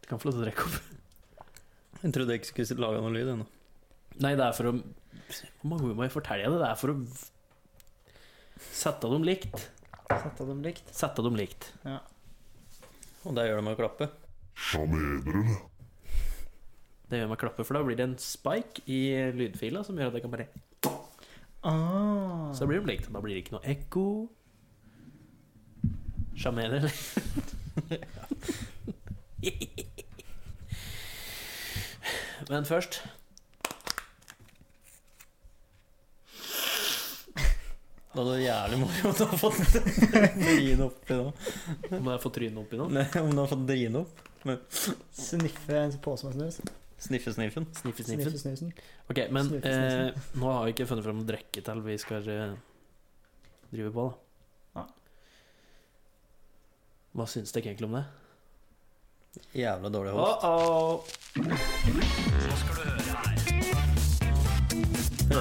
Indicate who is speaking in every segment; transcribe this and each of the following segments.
Speaker 1: Du kan få lov til å drikke opp.
Speaker 2: Jeg trodde jeg ikke skulle lage noe lyd ennå.
Speaker 1: Nei, det er for å Hvor mange ganger må jeg fortelle det? Det er for å sette dem likt.
Speaker 3: Sette dem likt.
Speaker 1: Sette dem likt.
Speaker 2: Og det gjør det med å klappe.
Speaker 1: Det gjør meg klappe, for da blir det en spike i lydfila som gjør at jeg kan bare
Speaker 3: Ah.
Speaker 1: Så da blir de likt. Da blir det ikke noe ekko. Sjameler. Men først
Speaker 2: Det hadde vært jævlig moro om du hadde fått drin oppi nå.
Speaker 1: må jeg få trynet oppi nå.
Speaker 2: Nei, om du hadde fått drin opp.
Speaker 3: Sniffe en pose med snus.
Speaker 2: Sniffe-sniffen.
Speaker 1: Sniffe, sniffe.
Speaker 3: Sniffe snusen.
Speaker 1: Ok, men
Speaker 3: Sniffe,
Speaker 1: eh, nå har vi ikke funnet fram noe drikke til vi skal eh, drive på, da.
Speaker 3: Nei.
Speaker 1: Hva syns dere egentlig om det?
Speaker 2: Jævla dårlig host.
Speaker 1: Uh-oh.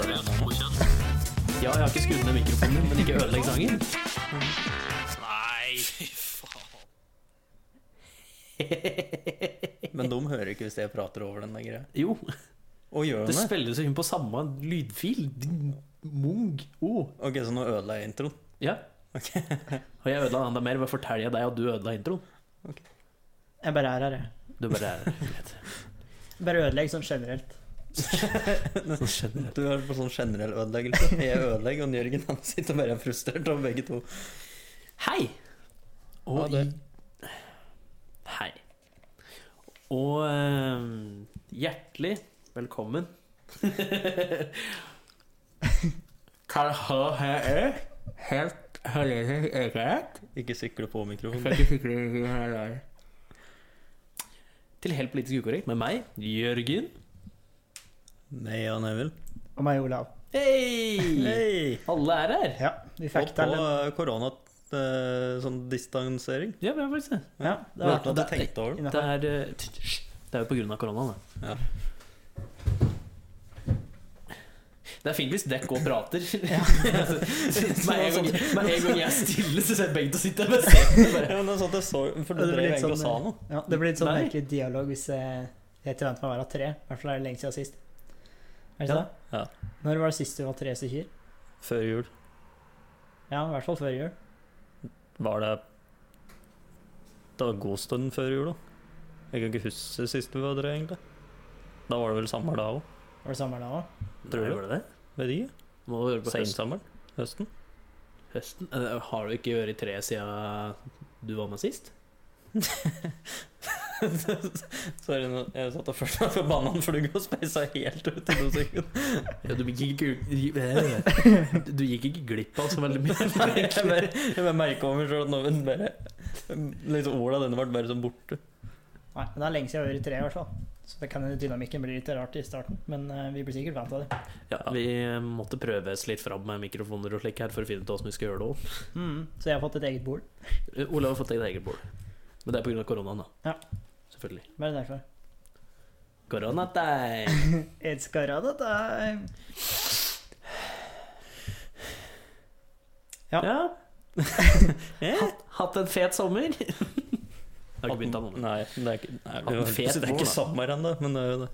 Speaker 1: Ja, jeg har ikke skrudd ned mikrofonen din, men ikke ødelegg sangen.
Speaker 4: Nei, fy faen.
Speaker 2: Men de hører ikke hvis jeg prater over den der greia.
Speaker 1: Jo,
Speaker 2: Og gjør
Speaker 1: det
Speaker 2: de det?
Speaker 1: spilles jo inn på samme lydfil. Din mung. Oh.
Speaker 2: Ok, så nå ødela jeg introen.
Speaker 1: Ja.
Speaker 2: Ok.
Speaker 1: Og jeg ødela enda mer ved å fortelle deg at du ødela introen.
Speaker 3: Jeg bare er her, jeg.
Speaker 1: Du bare
Speaker 3: Bare ødelegg sånn generelt.
Speaker 1: Sånn generelt.
Speaker 2: Du er på sånn generell ødeleggelse. Jeg ødelegger, og Jørgen han sitter og bare er frustrert over begge to.
Speaker 1: Hei! Og
Speaker 2: Ha det.
Speaker 1: i- Hei. Og eh, hjertelig velkommen Kan ha her er E. helt herlig eget
Speaker 2: Ikke sykle på
Speaker 1: Mm.
Speaker 2: mikrofonen.
Speaker 1: Til helt politisk ukorrekt med meg, Jørgen.
Speaker 2: Nei, Jan Emil.
Speaker 3: Og meg, Olav.
Speaker 1: Hei!
Speaker 2: Hei!
Speaker 1: Alle er her.
Speaker 3: Ja, vi
Speaker 2: Og
Speaker 3: fikk
Speaker 2: på
Speaker 3: til en
Speaker 2: eh, korona... eh, Sånn distansering.
Speaker 1: Ja, vi har faktisk det.
Speaker 3: Ja,
Speaker 2: Det
Speaker 3: det
Speaker 2: var
Speaker 3: var
Speaker 2: ikke at jeg tenkte over det.
Speaker 1: Det
Speaker 3: innafor.
Speaker 1: er, eh, t- t- det er jo på grunn av koronaen, det.
Speaker 2: Ja.
Speaker 1: Det er fint hvis dekk og prater.
Speaker 3: Ja.
Speaker 1: Med en gang- med en gang jeg er stille, så ser begge to sitte ved siden.
Speaker 2: Ja, men det er sånn at jeg så, for
Speaker 3: Ja,
Speaker 2: det
Speaker 3: det
Speaker 2: drev
Speaker 3: blir litt
Speaker 2: egentlig og sa
Speaker 3: sånn,
Speaker 2: noe.
Speaker 3: Ja, det blir litt sånn
Speaker 1: Nei.
Speaker 3: egentlig dialog hvis jeg, jeg forventer meg å være tre. I hvert fall er det lenge siden sist. Er det ikke
Speaker 1: Ja,
Speaker 3: det?
Speaker 2: ja.
Speaker 3: Når var det sist du var tre stykker?
Speaker 2: Før jul
Speaker 3: Ja, i hvert fall før jul.
Speaker 2: var det Det var god stund før jul, da. Jeg kan ikke huske sist vi var der, egentlig. Da var det vel sommer da òg.
Speaker 3: Var det sommeren da òg?
Speaker 2: Tror du?
Speaker 1: Nei, var det det?
Speaker 2: Vet ikke.
Speaker 1: Må du gjøre det på høst,
Speaker 2: Sensommeren? Høsten?
Speaker 1: høsten? Eh, Har du ikke vært i tre siden du var med sist?
Speaker 2: Sorry, nå- jeg satt og følte meg forbanna for du går og speisa helt ut i to sekunder.
Speaker 1: Ja, du, gikk ikke, du gikk ikke glipp av så veldig
Speaker 2: Nei,
Speaker 1: mye.
Speaker 2: jeg bare, jeg bare merka over sjøl at nå men bare Liksom Ola denne ble bare sånn borte.
Speaker 3: Nei, men det er lenge siden jeg har vært tre, i hvert fall. Så det kan hende dynamikken blir litt rart i starten, men eh, vi blir sikkert vant til det.
Speaker 1: Ja, vi eh, måtte prøve oss litt fram med mikrofoner og slik her for å finne ut hvordan vi skal gjøre det også.
Speaker 3: Mm, så jeg har fått et eget bord.
Speaker 1: Eh, Olav har fått et eget bord. Men det er på grunn av koronaen, da.
Speaker 3: Ja.
Speaker 1: Selvfølgelig.
Speaker 3: Bare derfor.
Speaker 1: Koronatime!
Speaker 3: It's Karada time! Ja.
Speaker 1: Ja. hatt, hatt en fet sommer. Jeg har ikke begynt ennå.
Speaker 2: Nei, det er ikke, nei,
Speaker 1: Hatt en
Speaker 2: det er-
Speaker 1: fet
Speaker 2: det er
Speaker 1: vår,
Speaker 2: ikke
Speaker 1: da.
Speaker 2: sommer ennå, men det er jo det.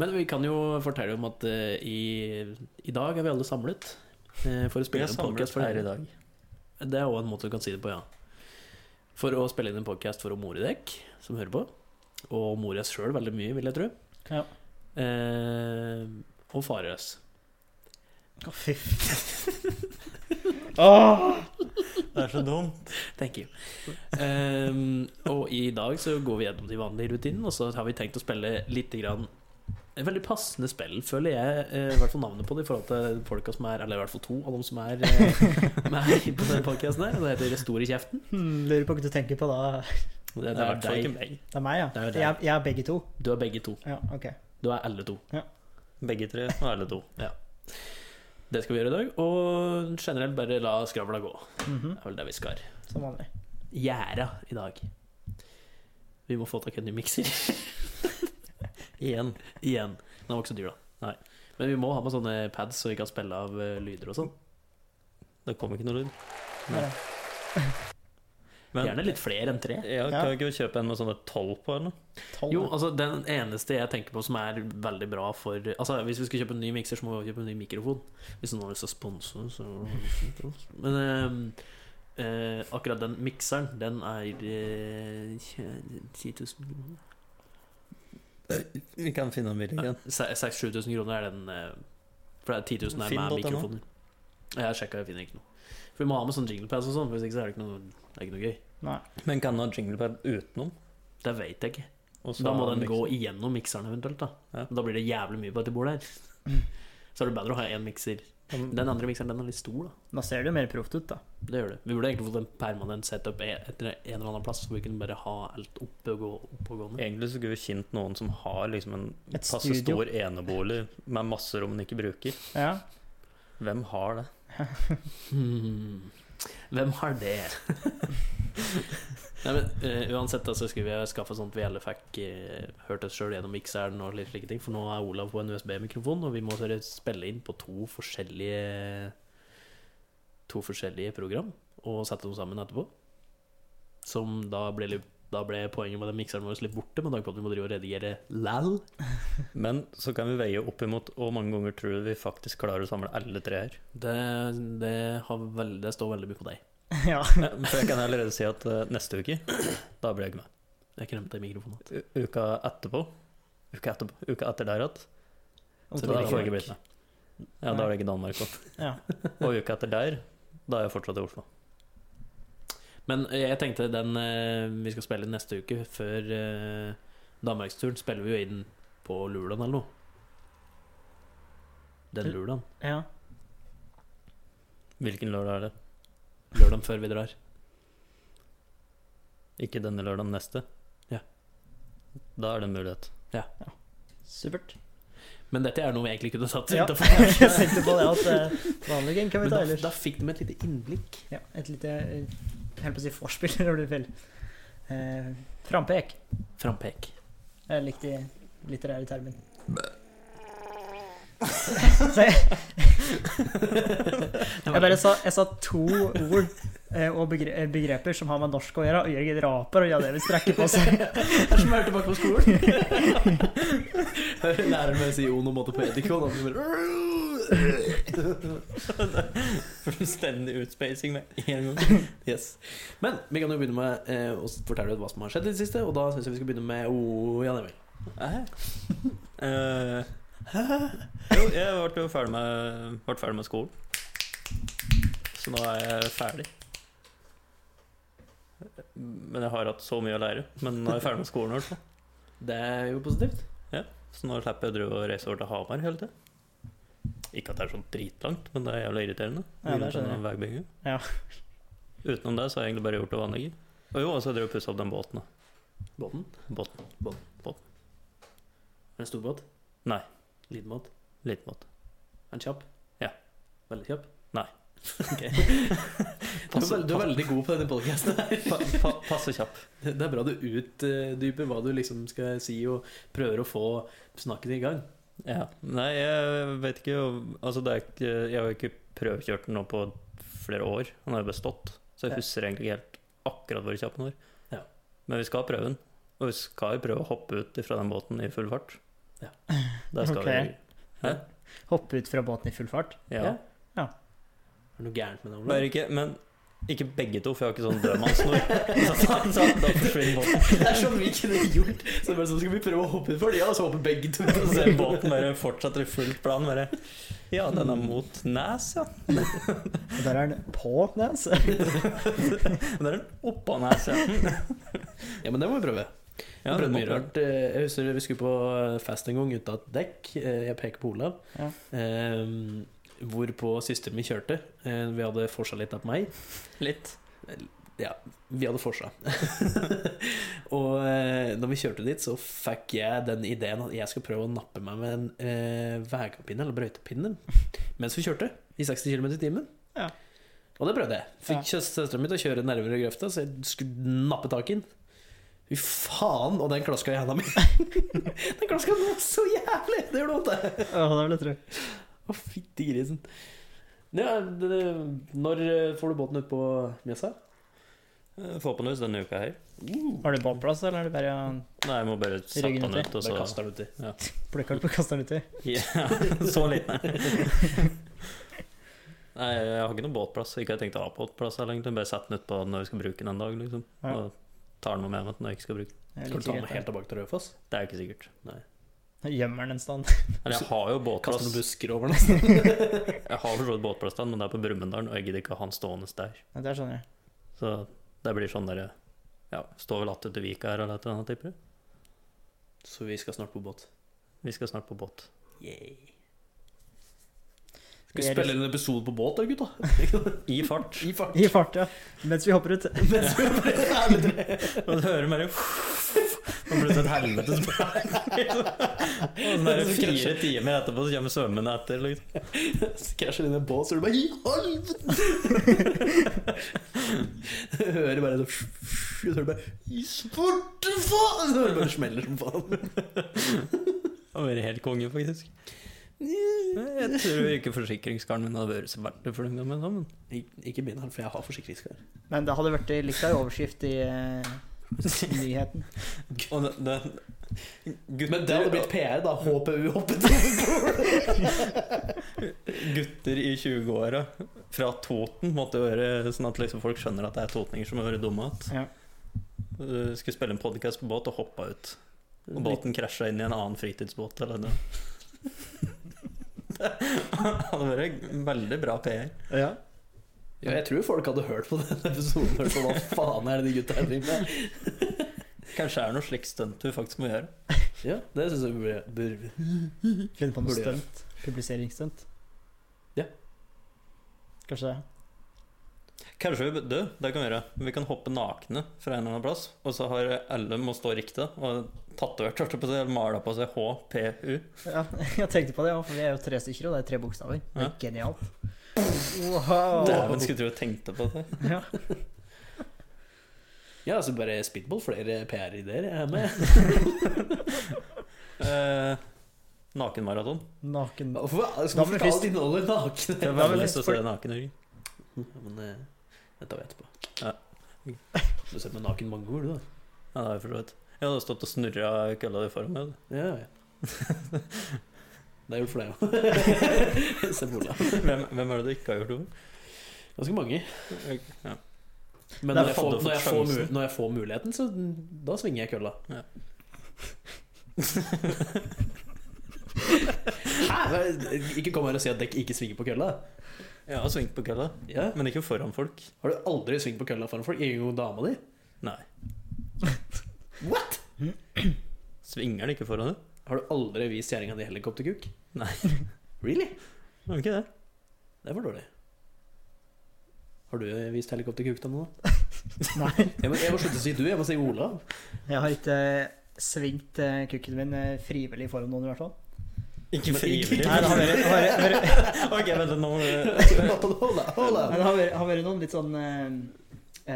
Speaker 1: Men vi kan jo fortelle om at eh, i, i dag er vi alle samlet eh, for å
Speaker 2: Vi
Speaker 1: spille
Speaker 2: er
Speaker 1: en podcast
Speaker 2: samlet
Speaker 1: for
Speaker 2: her i
Speaker 1: dere.
Speaker 2: dag.
Speaker 1: Det er òg en måte du kan si det på, ja. For å spille inn en podkast for å more dekk, som hører på. Og more oss sjøl veldig mye, vil jeg tro.
Speaker 3: Ja.
Speaker 1: Eh, og fare oss.
Speaker 3: Å, fy Åh!
Speaker 2: Det er så dumt.
Speaker 1: Thank you. Ehm, og i dag så går vi gjennom de vanlige rutinene, og så har vi tenkt å spille litt grann et veldig passende spill, føler jeg. eh, I hvert fall navnet på det, i forhold til folka som er Eller i hvert fall to av dem som er eh, med på den podkasten her. Det heter Stor i kjeften.
Speaker 3: Hmm, lurer på hva du tenker på da.
Speaker 1: Det,
Speaker 2: Det er i
Speaker 1: er
Speaker 2: hvert fall
Speaker 1: deg.
Speaker 2: ikke meg.
Speaker 3: Det er meg, ja?
Speaker 1: Det er jo deg.
Speaker 3: jeg, jeg er begge to.
Speaker 1: Du er begge to.
Speaker 3: Ja, ok.
Speaker 1: Du er alle to.
Speaker 2: Begge tre og alle to.
Speaker 1: Det skal vi gjøre i dag. Og generelt bare la skravla gå.
Speaker 3: Mhm,
Speaker 1: Det er vel det vi skal
Speaker 3: Som vanlig.
Speaker 1: gjøre i dag. Vi må få tak i en ny mikser.
Speaker 2: Igjen.
Speaker 1: Igjen. Den var ikke så dyr, da. Nei. Men vi må ha med sånne pads, så vi kan spille av eh, lyder og sånn.
Speaker 2: Det kom ikke noe lyd.
Speaker 3: Der, ja.
Speaker 2: Men
Speaker 1: Gjerne litt flere enn tre.
Speaker 2: ja, kan vi ikke kjøpe en med sånne tolv på eller noe?
Speaker 3: Tolv.
Speaker 1: Jo, altså Den eneste jeg tenker på som er veldig bra for Altså Hvis vi skal kjøpe en ny mikser, så må vi kjøpe en ny mikrofon. Hvis noen har lyst til å sponse, så Men eh, eh, akkurat den mikseren, den er eh, 10 000 kroner.
Speaker 2: Vi kan finne en billig en.
Speaker 1: 6000-7000 kroner er den eh, For det er 10 000 er med
Speaker 2: Finn.no.
Speaker 1: mikrofoner. Jeg sjekka, jeg finner ikke noe. For Vi må ha med sånn jinglepads og sånn, for hvis ikke så er det ikke noe, det er ikke noe gøy.
Speaker 3: Nei.
Speaker 2: Men kan den ha jinglepad utenom?
Speaker 1: Det vet jeg ikke.
Speaker 2: Og så liksom-
Speaker 1: Da må
Speaker 2: ha
Speaker 1: den
Speaker 2: miks-
Speaker 1: gå igjennom mikseren eventuelt. Da
Speaker 2: Ja.
Speaker 1: Da blir det jævlig mye på dette bordet her. Så er det bedre å ha én mikser. Den andre mikseren den er litt stor, da.
Speaker 3: Da ser det jo mer proft ut, da.
Speaker 1: Det gjør det. Vi burde egentlig fått en permanent setup e- etter en eller annen plass, så vi kunne bare ha alt oppe og gå oppegående.
Speaker 2: Egentlig så skulle vi kjent noen som har liksom en
Speaker 3: Et
Speaker 2: passe
Speaker 3: studio.
Speaker 2: stor enebolig med masse rom den ikke bruker.
Speaker 3: Ja.
Speaker 2: Hvem har det?
Speaker 1: Hmm. Hvem har det? Nei, men eh, Uansett da, så skulle vi skaffe sånn at vi alle fikk eh, hørt oss sjøl gjennom mikseren. og litt slike ting For nå er Olav på en USB-mikrofon, og vi må bare spille inn på to forskjellige To forskjellige program og sette dem sammen etterpå. Som da ble, litt, da ble poenget med den mikseren vår litt borte, med tanke på at vi må drive og redigere læl.
Speaker 2: Men så kan vi veie opp imot hvor mange ganger tror du vi faktisk klarer å samle alle tre her.
Speaker 1: Det, det, har veld, det står veldig mye på deg.
Speaker 3: ja.
Speaker 2: Ja, For jeg kan allerede si at eh, neste uke, da blir jeg ikke med.
Speaker 1: Jeg kremte i mikrofonen.
Speaker 2: U uka etterpå, uka etterpå, uka etter der igjen,
Speaker 3: Og
Speaker 2: så
Speaker 3: da-
Speaker 2: da får jeg ikke blitt med. Ja, da er det ikke Danmark òg.
Speaker 3: Ja.
Speaker 2: Og uka etter der, da er jeg fortsatt i Oslo.
Speaker 1: Men jeg tenkte den eh, vi skal spille neste uke, før eh, Danmarksturen, spiller vi jo inn på Lulaen eller noe. Den Lulaen.
Speaker 3: ja.
Speaker 2: Hvilken lørdag er det?
Speaker 1: Lørdagen før vi drar.
Speaker 2: Ikke denne lørdagen, neste?
Speaker 1: Ja.
Speaker 2: Da er det en mulighet.
Speaker 3: Supert.
Speaker 1: Men dette er noe vi egentlig kunne satt
Speaker 3: Ja.
Speaker 1: utenfor.
Speaker 3: Jeg tenkte på det at eh, vanlig game kan vi
Speaker 1: Men da,
Speaker 3: ta ellers.
Speaker 1: da fikk de et lite innblikk.
Speaker 3: Ja, et lite eh, Jeg holdt på å si vorspiel, det blir feil. Eh, frampek
Speaker 1: Frampek.
Speaker 3: er litt i litterære termen. Så jeg, jeg bare sa, jeg sa to ord eh, og begre, eh, begreper som har med norsk å gjøre, og Jørgen raper og Jan Evin strekker på seg.
Speaker 1: Jeg er som jeg hørte bak på skolen. Hører læreren meg si onomatet på edikon. og så bare-
Speaker 2: Fullstendig utspacing med en gang.
Speaker 1: Yes. Men vi kan jo begynne med eh, å fortelle hva som har skjedd i det siste, og da syns jeg vi skal begynne med oh, Jan Emil.
Speaker 2: Hæ? Eh, hæ? jo, jeg ble jo ferdig med, ble ferdig med skolen. Så nå er jeg ferdig. Men jeg har hatt så mye å lære. Men nå er jeg ferdig med skolen. i hvert fall.
Speaker 1: Det er jo positivt.
Speaker 2: Så nå slipper jeg å drive og reise over til Hamar hele tida. Ikke at det er sånn dritlangt, men det er jævlig irriterende.
Speaker 3: Ja, det
Speaker 2: Grunnet
Speaker 3: skjønner
Speaker 2: denne veibyggingen.
Speaker 3: Ja.
Speaker 2: Utenom det så har jeg egentlig bare gjort det vanlige. Og jo, og så har jeg drevet og pussa opp den båten. da.
Speaker 1: Båten?
Speaker 2: Båten.
Speaker 1: En stor båt?
Speaker 2: Nei.
Speaker 1: Liten båt?
Speaker 2: Liten båt.
Speaker 1: En kjapp?
Speaker 2: Ja.
Speaker 1: Veldig kjapp?
Speaker 2: Nei.
Speaker 1: Ok. Du, er veld, du er veldig god på denne podcasten
Speaker 2: Pa,
Speaker 1: her.
Speaker 2: pa, passe kjapp.
Speaker 1: Det det er bra du utdyper hva du liksom skal si, og prøver å få snakken i gang.
Speaker 2: Ja. Nei, jeg vet ikke om- Altså, det er ikke Jeg har jo ikke prøvekjørt den nå på flere år. Han har jo bestått. Så
Speaker 1: Ja.
Speaker 2: jeg husker egentlig ikke helt akkurat hvor kjapp den var.
Speaker 1: Ja.
Speaker 2: Men vi skal prøve den. Og vi skal jo prøve å hoppe ut fra den båten i full fart.
Speaker 1: Ja.
Speaker 2: Det skal
Speaker 3: Ok.
Speaker 2: vi. Hæ?
Speaker 3: Hoppe ut fra båten i full fart.
Speaker 2: Ja.
Speaker 1: Er det noe gærent med det? Olav?
Speaker 2: Bare ikke Men ikke begge to, for jeg har ikke sånn dødmannssnor. Så, så, så, da forsvinner båten.
Speaker 1: Det er sånn vi kunne gjort. Så bare sånn skal vi prøve å hoppe for det, ja, så hopper begge to.
Speaker 2: Og så er båten bare fortsatt i fullt plan. Bare Ja, den er mot Nes, ja.
Speaker 3: Og der er den på den. så-
Speaker 2: Den er oppå Nes, ja.
Speaker 1: Ja, men det må vi prøve. jeg,
Speaker 2: Ja, det
Speaker 1: prøvde
Speaker 2: må
Speaker 1: mye
Speaker 2: vi.
Speaker 1: rart. Eh, jeg husker vi skulle på eh, fest en gang uten et dekk. Eh, Jeg peker på Olav.
Speaker 3: Ja.
Speaker 1: Eh, hvorpå søsteren min kjørte. Eh, vi hadde forsa litt av meg.
Speaker 2: Litt.
Speaker 1: Ja, vi hadde forsa. og eh, når vi kjørte dit, så fikk jeg den ideen at jeg skal prøve å nappe meg med en eh, veipinne, eller brøytepinne, mens vi kjørte i 60 km i timen.
Speaker 3: Ja.
Speaker 1: Og det prøvde jeg. Fikk ja. søstera mi til å kjøre nærmere grøfta, så jeg skulle nappe tak i den. Fy faen, og den klaska i henda mi! den klaska nå så jævlig! Det gjorde vondt, det.
Speaker 3: Ja, det vil jeg tro.
Speaker 1: Å, fytti grisen. Ja, det, det, når eh, får du båten ut på Mjøsa?
Speaker 2: Eh, Forhåpentligvis denne uka her.
Speaker 3: Har du båndplass, eller er det bare
Speaker 2: Nei, jeg må bare sette
Speaker 3: Ryggen
Speaker 2: den
Speaker 3: uti.
Speaker 2: ut, og
Speaker 1: Bare
Speaker 2: så
Speaker 1: kaster den uti.
Speaker 3: plukka opp og kasta den uti?
Speaker 2: Ja, så liten. Nei, jeg har ikke noen båtplass. Ikke jeg tenkte å ha båtplass her egentlig. Bare sette den ut på når vi skal bruke den en dag, liksom.
Speaker 3: Ja.
Speaker 2: Og tar den med meg når jeg ikke skal bruke den.
Speaker 3: Jeg
Speaker 1: Skal du
Speaker 3: liker
Speaker 1: ta den
Speaker 3: greit,
Speaker 1: helt tilbake til Raufoss?
Speaker 2: Det er ikke sikkert. Nei.
Speaker 3: da. Gjemmer den en stand.
Speaker 2: Eller jeg har jo
Speaker 1: Kaste
Speaker 2: båtplass.
Speaker 1: noen busker over den?
Speaker 2: Jeg har forstått båtplass der, men det er på Brumunddal, og jeg gidder ikke å ha den stående der.
Speaker 3: Ja, Det skjønner jeg.
Speaker 2: Så det blir sånn der Ja, står vel att ute i Vika her, eller et eller annet, tipper jeg.
Speaker 1: Så vi skal snart på båt.
Speaker 2: Vi skal snart på båt.
Speaker 1: Skal vi spille inn en episode på båt da, gutta?
Speaker 2: I fart.
Speaker 1: I fart.
Speaker 3: I fart, ja. Mens vi hopper ut.
Speaker 1: Mens vi Ærlig talt.
Speaker 2: Og du hører bare Og plutselig et helvetes brand. Og så er det sånn fire timer etterpå så kommer svømmende etter. Liksom.
Speaker 1: krasjer inn i en båt, så er det bare I helvete! hører bare det Så hører du bare I svarte faen! Så hører du bare det smeller som faen.
Speaker 2: Det var helt konge, faktisk. Jeg tror ikke forsikringskaren min hadde vært så verdt det for den gangen. da, Men
Speaker 1: Ik- Ikke begynn her, for jeg har forsikringskar.
Speaker 3: Men det hadde vært litt av en overskrift i eh, nyheten.
Speaker 2: og det, det, gutter,
Speaker 1: Men det hadde blitt PR, da. HPU hoppet
Speaker 2: gutter i 20-åra fra Toten måtte jo være sånn at liksom folk skjønner at det er totninger som har vært dumme igjen.
Speaker 3: Ja.
Speaker 2: Uh, Skulle spille en podkast på båt og hoppa ut. Og båten krasja inn i en annen fritidsbåt eller noe. Det hadde vært veldig bra PR.
Speaker 3: Ja.
Speaker 1: Ja, jeg tror folk hadde hørt på den episoden. Hørt på, Hva faen er det de gutta her driver med?
Speaker 2: Kanskje det er noe slikt stunt du faktisk må gjøre.
Speaker 1: Ja, det syns jeg burde, burde
Speaker 3: Finne på noe
Speaker 1: Burde gjøre.
Speaker 3: stunt. Publiseringsstunt.
Speaker 1: Ja.
Speaker 3: Kanskje det.
Speaker 2: Kanskje vi du, det kan vi gjøre. Vi kan hoppe nakne fra en eller annen plass, og så har alle må stå riktig og tatovert, hørte jeg på å si, eller mala på seg HPU.
Speaker 3: Ja, jeg tenkte på det, ja, for vi er jo tre stykker, og det er tre bokstaver. Det er
Speaker 2: Ja.
Speaker 3: genialt. Wow.
Speaker 2: Dæven, skulle tro jeg tenkte på det.
Speaker 3: Ja.
Speaker 1: Ja, altså bare spitball. Flere PR-ideer jeg er med.
Speaker 2: Eh, Nakenmaraton.
Speaker 3: Naken
Speaker 1: Hvorfor
Speaker 3: Da
Speaker 1: skal
Speaker 3: må
Speaker 1: vi
Speaker 3: vi
Speaker 1: ikke
Speaker 3: først-
Speaker 1: alt innholdet nakne?
Speaker 2: Jeg
Speaker 3: Ja,
Speaker 2: har
Speaker 3: men
Speaker 2: lyst til å
Speaker 3: for-
Speaker 2: se naken Jørgen.
Speaker 1: Men eh, det tar vi etterpå.
Speaker 2: Ja.
Speaker 1: Du ser på naken mango, du, da.
Speaker 2: Ja, det har jeg forstått. Jeg hadde stått og snurra kølla di foran meg.
Speaker 1: Ja, ja. Det er gjort for deg òg. Se på Ola.
Speaker 2: Hvem, hvem er det du ikke har gjort over?
Speaker 1: Ganske mange.
Speaker 2: Ja.
Speaker 1: Men
Speaker 2: Det er
Speaker 1: når jeg, får,
Speaker 2: fadder for
Speaker 1: når, jeg får,
Speaker 2: sjansen.
Speaker 1: mu- når jeg får muligheten, så da svinger jeg kølla.
Speaker 2: Ja.
Speaker 1: Hæ? Hva- Ikke kom her og si at dekk ikke svinger på kølla.
Speaker 2: Jeg har svingt på kølla,
Speaker 1: Ja.
Speaker 2: men ikke foran folk.
Speaker 1: Har du aldri svingt på kølla foran folk? Ikke engang dama di?
Speaker 2: Nei.
Speaker 1: What?
Speaker 2: Svinger det ikke foran deg?
Speaker 1: Har du aldri vist kjerringa di helikopterkuk?
Speaker 2: Nei.
Speaker 1: Really?
Speaker 2: Har du ikke det?
Speaker 1: Det var dårlig. Har du vist helikopterkuk til noen? da?
Speaker 3: Nei,
Speaker 1: Jeg må, jeg må slutte å si du, jeg må si Olav.
Speaker 3: jeg har ikke svingt eh, kukken min eh, frivillig foran noen, i hvert fall.
Speaker 2: Ikke
Speaker 1: Men-
Speaker 2: frivillig?
Speaker 3: Nei, det har vært, det har vært, det har vært,
Speaker 2: ok, vent litt, nå må du
Speaker 1: Olav,
Speaker 3: Nei, det har vært, det har vært noen litt sånn eh,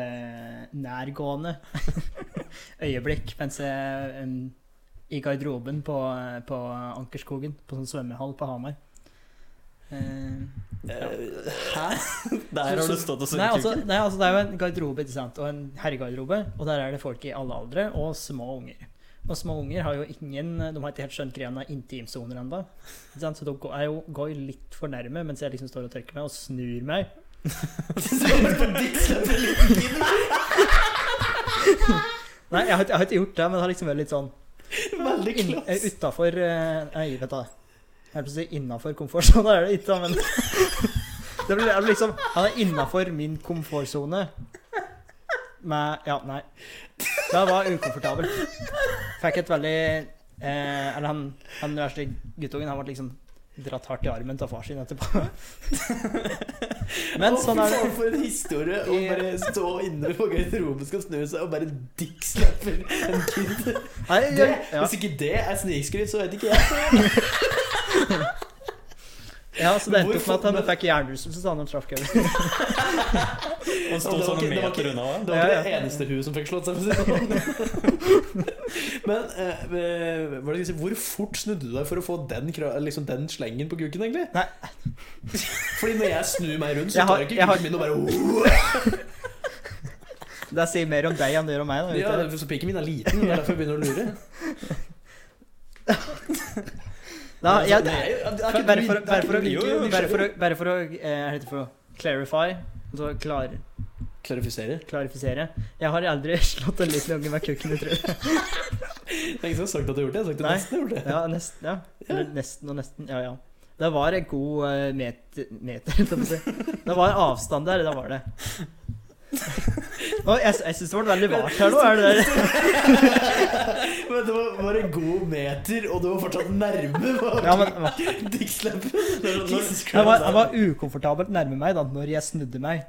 Speaker 3: eh, nærgående øyeblikk mens jeg em, i garderoben på, eh, på Ankerskogen, på sånn svømmehall på Hamar. Eh,
Speaker 1: Eh, Hæ?
Speaker 2: Der har du stått og
Speaker 3: Nei
Speaker 2: svingt
Speaker 3: altså, nei, altså det er jo en garderobe ikke sant? og en herregarderobe, og der er det folk i alle aldre og små unger. Og små unger har jo ingen De har ikke helt skjønt greia med intimsoner ennå. Så de går- er jo, går jo litt for nærme mens jeg liksom står og tørker meg, og snur meg. Nei, jeg har, ikke- jeg har ikke gjort det, men det har liksom vært litt sånn
Speaker 1: Veldig klass.
Speaker 3: eh, utafor Nei, vet du. Jeg holdt på å si innafor komfortsona, er det ikke, da, men det blir, det er liksom, Han er innafor min komfortsone. Med Ja, nei. Det var ukomfortabelt. Fikk et veldig eh, Eller han, han verste guttungen, han ble liksom dratt hardt i armen av far sin etterpå. Men sånn er det.
Speaker 1: Å, fy faen, For en historie å bare stå inne på garderoben, skal snu seg og bare dickslapper en kid.
Speaker 3: Nei,
Speaker 1: Det,
Speaker 3: jeg, ja,
Speaker 1: Hvis ikke det er snikskryt, så vet ikke jeg.
Speaker 3: ja, så det endte opp med at han
Speaker 1: Hvorfor-
Speaker 3: fikk hjernerystelse da han traff kølla.
Speaker 2: og
Speaker 1: Ja, det
Speaker 2: sto
Speaker 1: var
Speaker 2: sånn
Speaker 1: ikke-
Speaker 2: en
Speaker 1: det var
Speaker 2: meter
Speaker 1: ikke-
Speaker 2: unna. hva?
Speaker 1: Det var ikke
Speaker 3: Ja,
Speaker 1: det
Speaker 3: ja.
Speaker 1: eneste huet som fikk slått seg. for å si det sånn. Men eh, hva er det jeg skal si? hvor fort snudde du deg for å få den, kra- liksom, den slengen på kuken, egentlig?
Speaker 3: Nei.
Speaker 1: Fordi når jeg snur meg rundt, så
Speaker 3: Jeg har-
Speaker 1: tar jeg ikke
Speaker 3: jeg har-
Speaker 1: kuken min og bare
Speaker 3: Det sier mer om deg enn det gjør om meg. Da,
Speaker 1: Ja,
Speaker 3: vet du.
Speaker 1: så pikken min er liten, det er derfor jeg begynner å lure.
Speaker 3: da, jeg,
Speaker 1: altså, Det er jo- det er ikke-
Speaker 3: bare for,
Speaker 1: det er
Speaker 3: bare
Speaker 1: ikke-
Speaker 3: for å
Speaker 1: jo, jo,
Speaker 3: bare for å, bare for å eh, hva heter det for noe? clarify altså klar,
Speaker 1: Klarifisere.
Speaker 3: klarifisere. Jeg har aldri slått en liten unge med kukken, tror jeg.
Speaker 1: Det er ingen som har sagt at du har gjort det. Jeg har sagt at
Speaker 3: Nei.
Speaker 1: nesten har gjort det.
Speaker 3: Ja, nesten, ja. Eller nesten og nesten. Ja, ja. Det var en god eh, meter, meter holdt jeg på å si. Det var avstand der, det var det. Og jeg, jeg syns det ble veldig vart her nå. Er det der?
Speaker 1: Men det var, var en god meter, og du var fortsatt nærme.
Speaker 3: Ja, men,
Speaker 1: Dickslappen.
Speaker 3: Han var, han var ukomfortabelt nærme meg da når jeg snudde meg,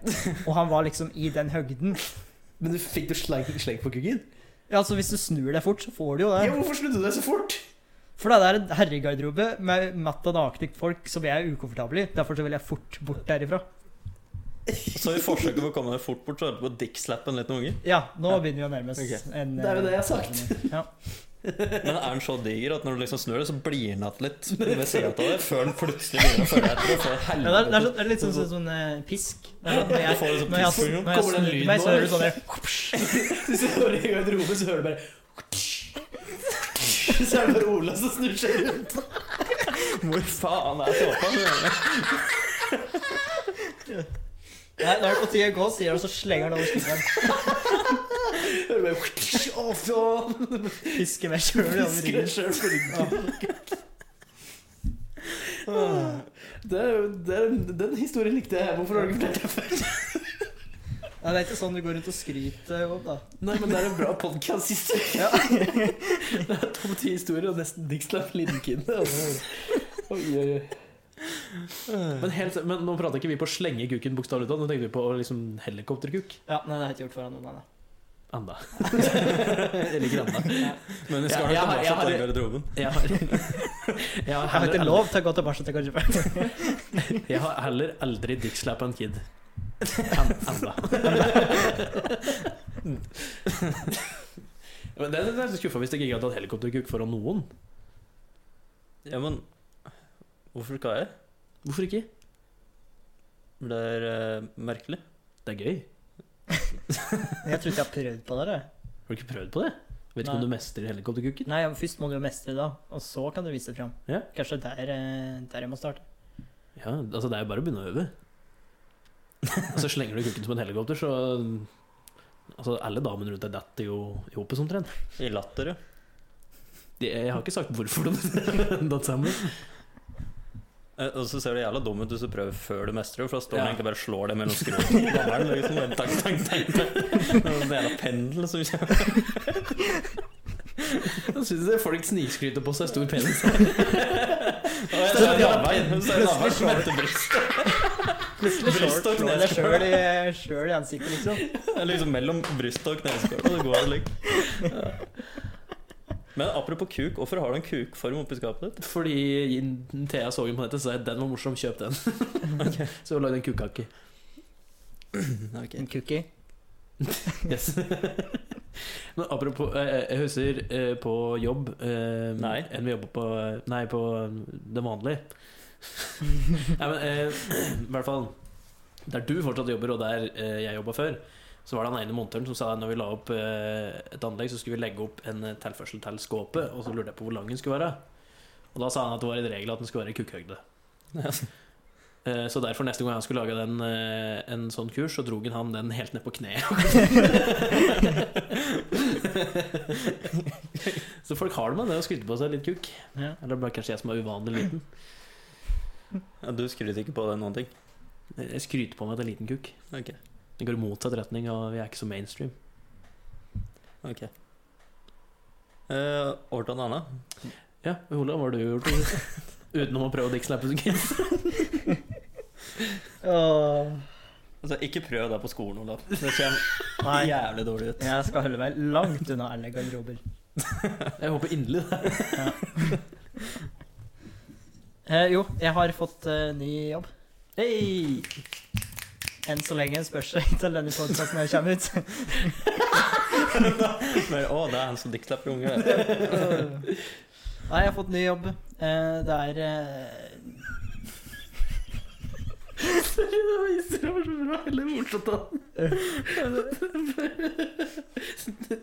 Speaker 3: og han var liksom i den høgden.
Speaker 1: Men du fikk du sleng, sleng på kuggen?
Speaker 3: Ja, altså Hvis du snur deg fort, så får du jo
Speaker 1: Ja,
Speaker 3: det.
Speaker 1: hvorfor snudde du deg så fort?
Speaker 3: For det er en herregarderobe med matt og nakne folk som jeg er ukomfortabel i. Derfor så vil jeg fort bort derifra.
Speaker 2: Så i forsøket på å komme deg fort bort, så holdt du på å dickslappe en liten unge.
Speaker 3: Ja, nå begynner vi å nærme oss
Speaker 2: Ok.
Speaker 3: en
Speaker 1: Det er jo det jeg har
Speaker 3: eh,
Speaker 1: sagt.
Speaker 3: Ja.
Speaker 2: Men er den så diger at når du liksom snur deg, så blir den igjen litt ved siden av deg, før den plutselig begynner å føle etter. Og så
Speaker 3: Ja, det, er, det,
Speaker 2: helvete.
Speaker 3: er, sånn- det er litt sånn, sånn, sånn eh, pisk. Det er sånn, Når
Speaker 2: Du
Speaker 3: jeg,
Speaker 2: får liksom
Speaker 3: når jeg,
Speaker 2: pisk.
Speaker 3: når jeg
Speaker 1: Kommer den
Speaker 3: snur
Speaker 1: lyden
Speaker 3: meg, så
Speaker 1: nå,
Speaker 3: hører du sånn der
Speaker 1: Du står i garderoben, så hører du bare Så er det bare Ola som snur seg rundt.
Speaker 2: Hvor faen er såpa?
Speaker 3: Nei, Når og tida går, sier han, så slenger han over skulderen.
Speaker 1: Hører du bare Å, faen!
Speaker 3: Pisker meg sjøl over
Speaker 1: Husker
Speaker 3: ryggen.
Speaker 1: jeg selv for en gang. Det er jo- det er- Den historien likte jeg. Hvorfor har du ikke fortalt det før?
Speaker 3: Nei, det er ikke sånn du går rundt og skryter opp, da.
Speaker 1: Nei, men det er en bra podkast sist uke.
Speaker 3: Ja.
Speaker 1: Det er topp ti historier og nesten Dixlaf Lindkinde. Oi, oi, oi. Men, helt, se- men nå prater ikke vi på å slenge kuken bokstavelig talt, nå tenker vi på å liksom helikopterkuk.
Speaker 3: Ja, nei, det har jeg ikke gjort foran noen, nei.
Speaker 1: Anda. Jeg liker anda.
Speaker 2: Men vi
Speaker 1: Ja, jeg
Speaker 2: skal nok
Speaker 1: har- jeg
Speaker 2: tilbake
Speaker 1: har-
Speaker 2: til den garderoben.
Speaker 1: Jeg har, jeg har
Speaker 3: Jeg har ikke
Speaker 1: heller,
Speaker 3: lov til å gå tilbake til kanskje
Speaker 1: aldri- jeg har heller aldri dickslappa en kid. An- Anda. Men det, det er skuffa hvis jeg ikke hadde hatt helikopterkuk foran noen.
Speaker 2: Ja, men hvorfor skal jeg?
Speaker 1: Hvorfor ikke?
Speaker 2: Det er eh, merkelig.
Speaker 1: Det er gøy.
Speaker 3: Jeg tror ikke jeg har prøvd på det. da.
Speaker 1: Har du ikke prøvd på det? Vet ikke
Speaker 3: Nei.
Speaker 1: om du mestrer helikopterkuken?
Speaker 3: Nei, men Først må du jo mestre det, da, og så kan du vise det fram.
Speaker 1: Ja.
Speaker 3: Kanskje der, eh, der jeg må starte.
Speaker 1: Ja, altså det er jo bare å begynne å øve. Og så slenger du kukken som en helikopter, så Altså, alle damene rundt deg detter jo i hopet som trend.
Speaker 2: I latter, ja.
Speaker 1: De- Jeg har ikke sagt hvorfor de datt sammen.
Speaker 2: Eh, Og så ser det jævla dum ut hvis du prøver før du mestrer, for da står
Speaker 1: Ja.
Speaker 2: den egentlig bare og slår deg mellom skruene. på Gammelen, liksom. Bare Tang, tang, tang, tang. Det er en jævla pendel som kommer.
Speaker 1: Jeg syns folk snikskryter på seg stor penis.
Speaker 2: Og jeg ser en jævla vei, så er det en annen som er til brystet.
Speaker 3: Plutselig
Speaker 2: Bryst og
Speaker 3: slår slår deg
Speaker 2: kneskål.
Speaker 3: sjøl i, sjøl i ansiktet, liksom.
Speaker 2: Det er Liksom mellom brystet og kneskåla. Det går liksom. Men apropos kuk, hvorfor har du en kukform oppi skapet ditt?
Speaker 1: Fordi Thea så den på nettet, så sa jeg den var morsom, kjøp den. Så hun lagde en kukkake.
Speaker 3: En cookie.
Speaker 1: Yes. Men apropos, eh, jeg husker eh, på jobb eh,
Speaker 2: Nei.
Speaker 1: Enn vi jobber på eh, Nei, på det vanlige. nei, men eh, i hvert fall Der du fortsatt jobber, og der eh, jeg jobba før, så var det han ene montøren som sa at når vi la opp eh, et anlegg, så skulle vi legge opp en eh, tilførsel til skåpet, og så lurte jeg på hvor lang den skulle være. Og da sa han at det var en regel at den skulle være i kukkhøgde. Eh, Så derfor neste gang han skulle lage den, eh, en sånn kurs, så drog han den helt ned på kneet. så folk har det med det å skryte på seg litt kukk.
Speaker 3: Ja.
Speaker 1: Eller det er kanskje jeg som er uvanlig liten.
Speaker 2: Ja, du skryter ikke på det noen ting.
Speaker 1: Jeg skryter på meg at jeg er liten kukk.
Speaker 2: Ok.
Speaker 1: Det går i motsatt retning, og jeg er ikke så mainstream.
Speaker 2: Eh, over til en annen.
Speaker 1: Ja, Ola, hva har du gjort? Utenom å prøve å dickslappe som kid.
Speaker 3: Åh.
Speaker 2: Altså, ikke prøv det på skolen, Olav. Det kommer
Speaker 3: Nei,
Speaker 2: jævlig dårlig ut.
Speaker 3: jeg skal holde meg langt unna alle garderober.
Speaker 1: Jeg håper inderlig det.
Speaker 3: Eh, jo, jeg har fått eh, ny jobb.
Speaker 1: Hey!
Speaker 3: Enn så lenge spørs det ikke om denne podkasten kommer ut.
Speaker 2: Men, å, det er han som diktslapper unge. Det
Speaker 3: Nei, jeg har fått ny jobb. Eh, det er eh,
Speaker 1: Sorry, det var historien var så bra. Heller morsomt da.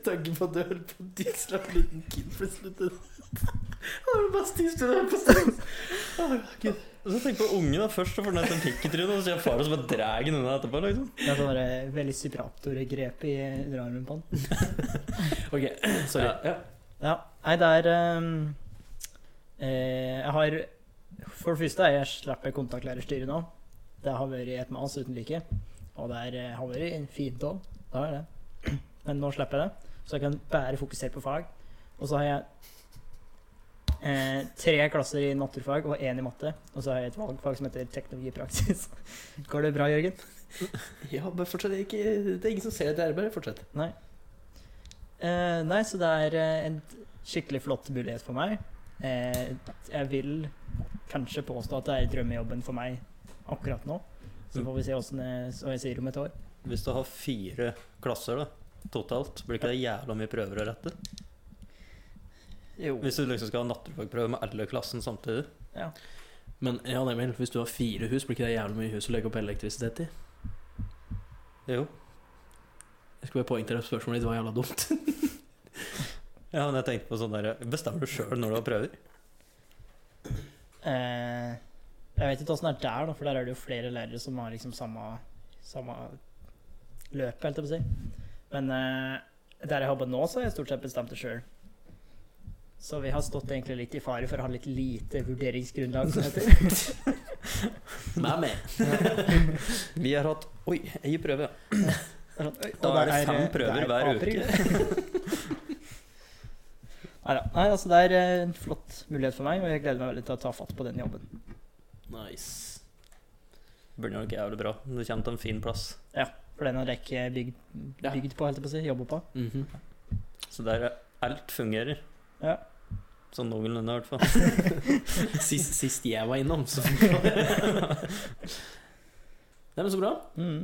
Speaker 1: Tanken på at du holdt på å disse en liten kid plutselig Det var det beste historien jeg har på stans. Å, Gud.
Speaker 2: Og så tenk på ungen, da. Først så får den et pikk i trynet, og så sier far og så bare drar den unna etterpå. liksom
Speaker 3: Det er sånn der, veldig supraptore-grep i underarmen på han.
Speaker 1: Ok, sorry. Ja.
Speaker 3: Ja, nei, det er ehm, eh, Jeg har For det første, jeg slipper kontaktlærerstyret nå. Det har vært et mas uten like. Og det er, eh, har vært en fin tål. Det har det. Men nå slipper jeg det, så jeg kan bare fokusere på fag. Og så har jeg eh, tre klasser i naturfag og én i matte. Og så har jeg et valgfag som heter teknologipraksis. Går det bra, Jørgen?
Speaker 1: ja, bare fortsett. Det er, ikke, det er ingen som ser dette her, bare fortsett.
Speaker 3: Eh, nei, så det er eh, en skikkelig flott mulighet for meg. Eh, jeg vil kanskje påstå at det er drømmejobben for meg akkurat nå. Så
Speaker 2: Mm.
Speaker 3: får vi se åssen jeg, hva jeg sier om et år.
Speaker 2: Hvis du har fire klasser da totalt, blir ikke det jævla mye prøver å rette?
Speaker 1: Jo.
Speaker 2: Hvis du liksom skal ha naturfagprøve med alle klassen samtidig.
Speaker 1: Men ja, Emil, hvis du har fire hus, blir ikke det jævlig mye hus å legge opp elektrisitet i?
Speaker 2: Jo.
Speaker 1: Jeg skal bare poengtere at spørsmålet ditt var jævla dumt.
Speaker 2: Ja, men jeg tenkte på sånn der Bestemmer du sjøl når du har prøver?
Speaker 3: Eh, jeg vet ikke åssen det er der, da, for der er det jo flere lærere som har liksom samme, samme løpet, helt til å si. Men eh, der jeg jobber nå, så har jeg stort sett bestemt det sjøl. Så vi har stått egentlig litt i fare for å ha litt lite vurderingsgrunnlag, som det heter.
Speaker 1: Med meg.
Speaker 2: Vi har hatt Oi, jeg prøver, ja. Da
Speaker 3: Og
Speaker 2: er det fem prøver
Speaker 3: det er
Speaker 2: hver
Speaker 3: april. Neida. Nei, altså det er eh, en flott mulighet for meg, og jeg gleder meg veldig til å ta fatt på den jobben.
Speaker 1: Nice.
Speaker 2: Blir nok jævlig bra. Du kommer til en fin plass.
Speaker 3: For den har jeg ikke bygd,
Speaker 1: Ja.
Speaker 3: bygd på, helt på å si, jobber på.
Speaker 1: Mhm.
Speaker 2: Så der er alt fungerer.
Speaker 3: Ja.
Speaker 2: Sånn noenlunde, i hvert fall.
Speaker 1: sist, sist jeg var innom, så funka det. Nei, men så bra.
Speaker 3: Mm.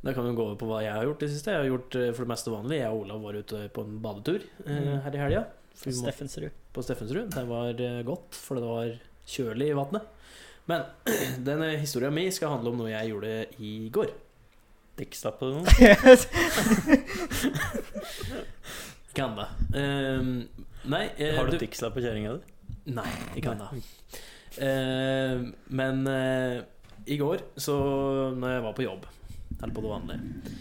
Speaker 1: Da kan vi gå over på hva jeg har gjort det siste. Jeg har gjort eh, for det meste vanlig. Jeg og Olav var ute på en badetur eh,
Speaker 3: Mm.
Speaker 1: her i helga. For vi må-
Speaker 3: Steffensrud.
Speaker 1: På Steffensrud. Det var eh, godt, for det var kjølig i vannet. Men denne historia mi skal handle om noe jeg gjorde i går.
Speaker 2: Dikkstapp og noe.
Speaker 1: Ikke ennå. Eh, nei, eh,
Speaker 2: Har du
Speaker 1: du-
Speaker 2: dikkstapp på kjerringa di?
Speaker 1: Nei, ikke ennå. Eh, men eh, i går, så når jeg var på jobb, eller på det vanlige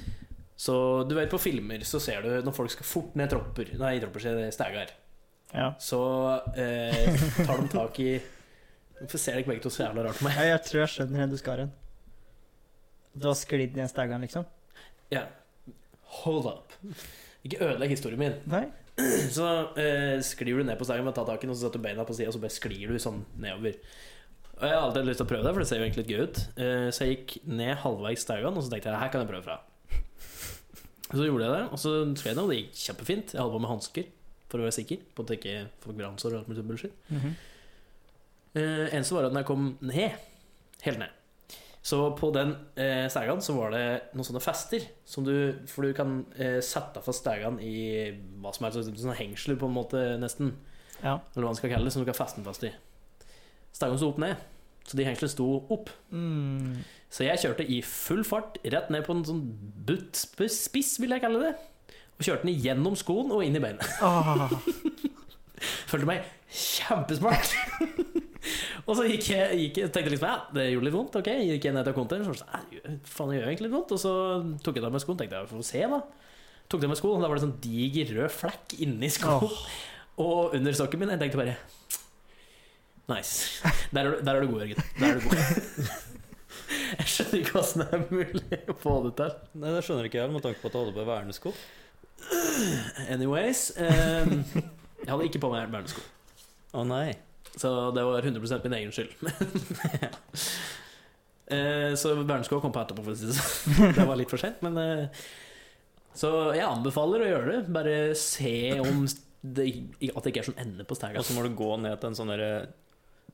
Speaker 1: Så du vet på filmer så ser du når folk skal fort ned tropper Nei, tropper, sier jeg, stegar.
Speaker 3: Ja.
Speaker 1: Så eh, tar de tak i Hvorfor ser dere begge to så jævla rart på meg?
Speaker 3: Jeg, jeg tror jeg skjønner hvor du skal hen. Du har sklidd ned stagene, liksom?
Speaker 1: Ja. Hold up. Ikke ødelegg historien min.
Speaker 3: Nei?
Speaker 1: Så eh, sklir du ned på steinen med tattaken, og så setter du beina på sida, og så bare sklir du sånn nedover. Og Jeg har alltid lyst til å prøve det, for det ser jo egentlig litt gøy ut. Eh, så jeg gikk ned halvveis stauene, og så tenkte jeg her kan jeg prøve fra. Så gjorde jeg det, og så skrev jeg det, og det gikk kjempefint. Jeg holdt på med hansker for å være sikker på at jeg ikke får brannsår og alt mulig sånn bullshit.
Speaker 2: Mhm.
Speaker 1: Eh, eneste var at når jeg kom ned, helt ned Så på den eh, stegen så var det noen sånne fester som du For du kan eh, sette fast stegen i hva som helst, sånne hengsler på en måte, nesten.
Speaker 3: Ja.
Speaker 1: Eller hva man skal kalle det, som du kan feste den fast i. Stegen sto opp ned, så de hengslene sto opp.
Speaker 3: Mm.
Speaker 1: Så jeg kjørte i full fart rett ned på en sånn butt spiss, vil jeg kalle det. Og kjørte den gjennom skoen og inn i beinet.
Speaker 3: Ah.
Speaker 1: Følte meg kjempesmart. og så gikk jeg, gikk, jeg- tenkte liksom ja, det gjorde litt vondt. Ok, gikk jeg ned til konteren. Så sånn, «Æ, faen, det gjør egentlig litt vondt. Og så tok jeg det av meg skoen. Tenkte jeg får se, da. Tok det av meg skoen, og da var det sånn diger rød flekk inni skoen. Og under sokken min. Jeg tenkte bare Nice. Der er du, der er du god, Jørgen. Der er du god. jeg skjønner ikke åssen det er mulig å få det til.
Speaker 2: Nei, det skjønner ikke jeg, med tanke på at du holder på med vernesko.
Speaker 1: Anyways. eh, jeg hadde ikke på meg vernesko.
Speaker 2: Å nei.
Speaker 1: Så det var 100 min egen skyld. Eh, så Bernskog kom på etterpå, for å si det sånn. Det var litt for sent, men eh, Så jeg anbefaler å gjøre det. Bare se om det, at det ikke er sånn ende på stæga.
Speaker 2: Og så må du gå ned til en sånn der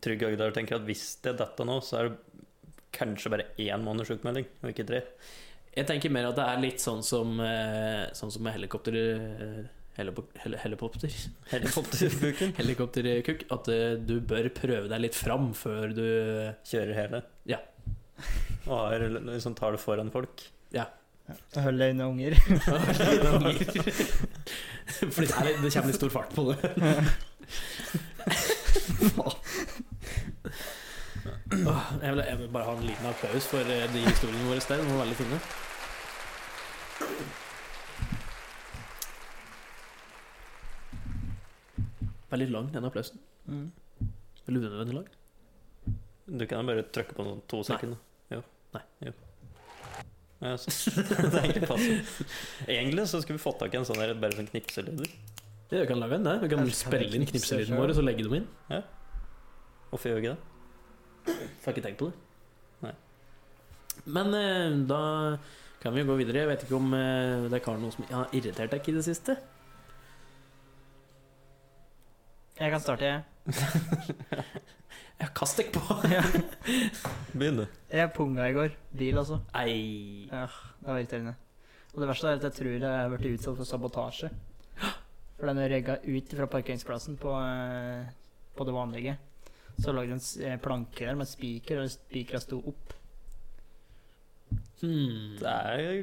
Speaker 2: trygg øy der du tenker at hvis det er dette nå, så er det kanskje bare én måneds sjukmelding, og ikke tre.
Speaker 1: Jeg tenker mer at det er litt sånn som eh, Sånn som med helikopter... eh, helipop- hel- Helikopter
Speaker 2: Helikopterbuken.
Speaker 1: Helikopterkukk. At eh, du bør prøve deg litt fram før du
Speaker 2: Kjører hele. Og har, liksom tar det foran folk.
Speaker 3: Hold deg unna unger.
Speaker 1: Fordi det, er, litt- det kommer litt stor fart på det. Åh, jeg, vil, jeg vil bare ha en liten applaus for eh, de historiene våre der. De var veldig fine. Veldig lang, den applausen.
Speaker 3: Mm.
Speaker 1: Veldig unødvendig lang.
Speaker 2: Du kan jo bare trykke på sånn to
Speaker 1: Nei.
Speaker 2: sekunder. Jo.
Speaker 1: Nei.
Speaker 2: Jo. Ja, så, det er egentlig passiv. Egentlig så skulle vi fått tak i en sånn der, bare sånn knipselyder.
Speaker 1: Ja, vi kan lage en der. Vi kan
Speaker 3: Eller så kan vi
Speaker 1: spille inn
Speaker 3: knipse
Speaker 1: knipselydene
Speaker 3: selv.
Speaker 1: våre, så legge dem inn.
Speaker 2: Hvorfor gjør vi ikke det?
Speaker 1: Jeg har ikke tenkt på det.
Speaker 2: Nei.
Speaker 1: Men eh, da kan vi jo gå videre. Jeg vet ikke om eh, det er noe som har irritert deg i det siste.
Speaker 3: Jeg kan starte, jeg.
Speaker 1: Ja, kast deg på!
Speaker 2: Begynn, du.
Speaker 3: Jeg punga i går. Bil, altså.
Speaker 1: Ei.
Speaker 3: Ja, det var irriterende. Og det verste er at jeg tror jeg har blitt utsatt for sabotasje. For den rygga ut fra parkeringsplassen på, eh, på det vanlige. Så lå det en s- eh, planke der med spiker, og spikra sto opp.
Speaker 1: Hmm.
Speaker 2: Det er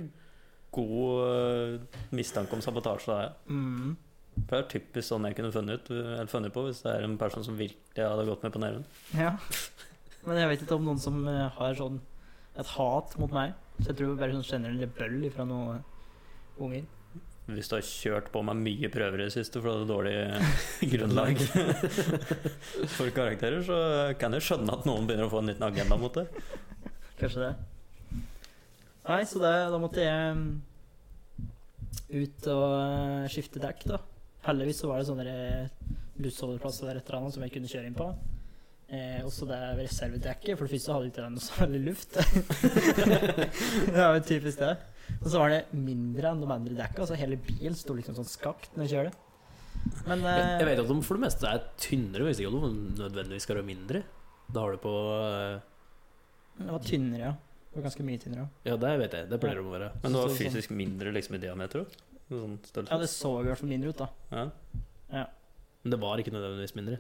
Speaker 2: god øh, mistanke om sabotasje, da. Ja.
Speaker 3: Mm.
Speaker 2: For Det er typisk sånn jeg kunne funnet, ut, eller funnet på hvis det er en person som virkelig hadde gått med på nerven.
Speaker 3: Ja. Men jeg vet ikke om noen som eh, har sånn et hat mot meg. Så jeg tror bare sånn generell bøll fra noen unger.
Speaker 2: Hvis du har kjørt på meg mye prøver i det siste for du hadde dårlig grunnlag for karakterer, så kan jeg skjønne at noen begynner å få en liten agenda mot det.
Speaker 3: Kanskje det. Nei, så det, da måtte jeg mm, ut og eh, skifte dekk, da. Heldigvis så var det sånne der bussholdeplasser der et eller annet som jeg kunne kjøre inn på. Eh, også det reservedekket. For det første hadde ikke den så veldig luft. det var jo typisk det. Og så var det mindre enn de andre dekka, så hele bilen sto liksom sånn skakt når jeg kjørte. Men
Speaker 1: Jeg jeg
Speaker 3: eh,
Speaker 1: vet at de for det meste er tynnere, hvis ikke at de nødvendigvis skal være mindre. Da har du på eh,
Speaker 3: det var tynnere, ja. Det var ganske mye tynnere.
Speaker 1: Ja, det vet jeg. Det pleier de å være.
Speaker 2: Men det var fysisk mindre liksom, i diameter òg. Sånn
Speaker 3: Ja, det
Speaker 2: størrelse.
Speaker 3: så i hvert fall mindre ut, da.
Speaker 2: Ja.
Speaker 1: Men det var ikke nødvendigvis mindre.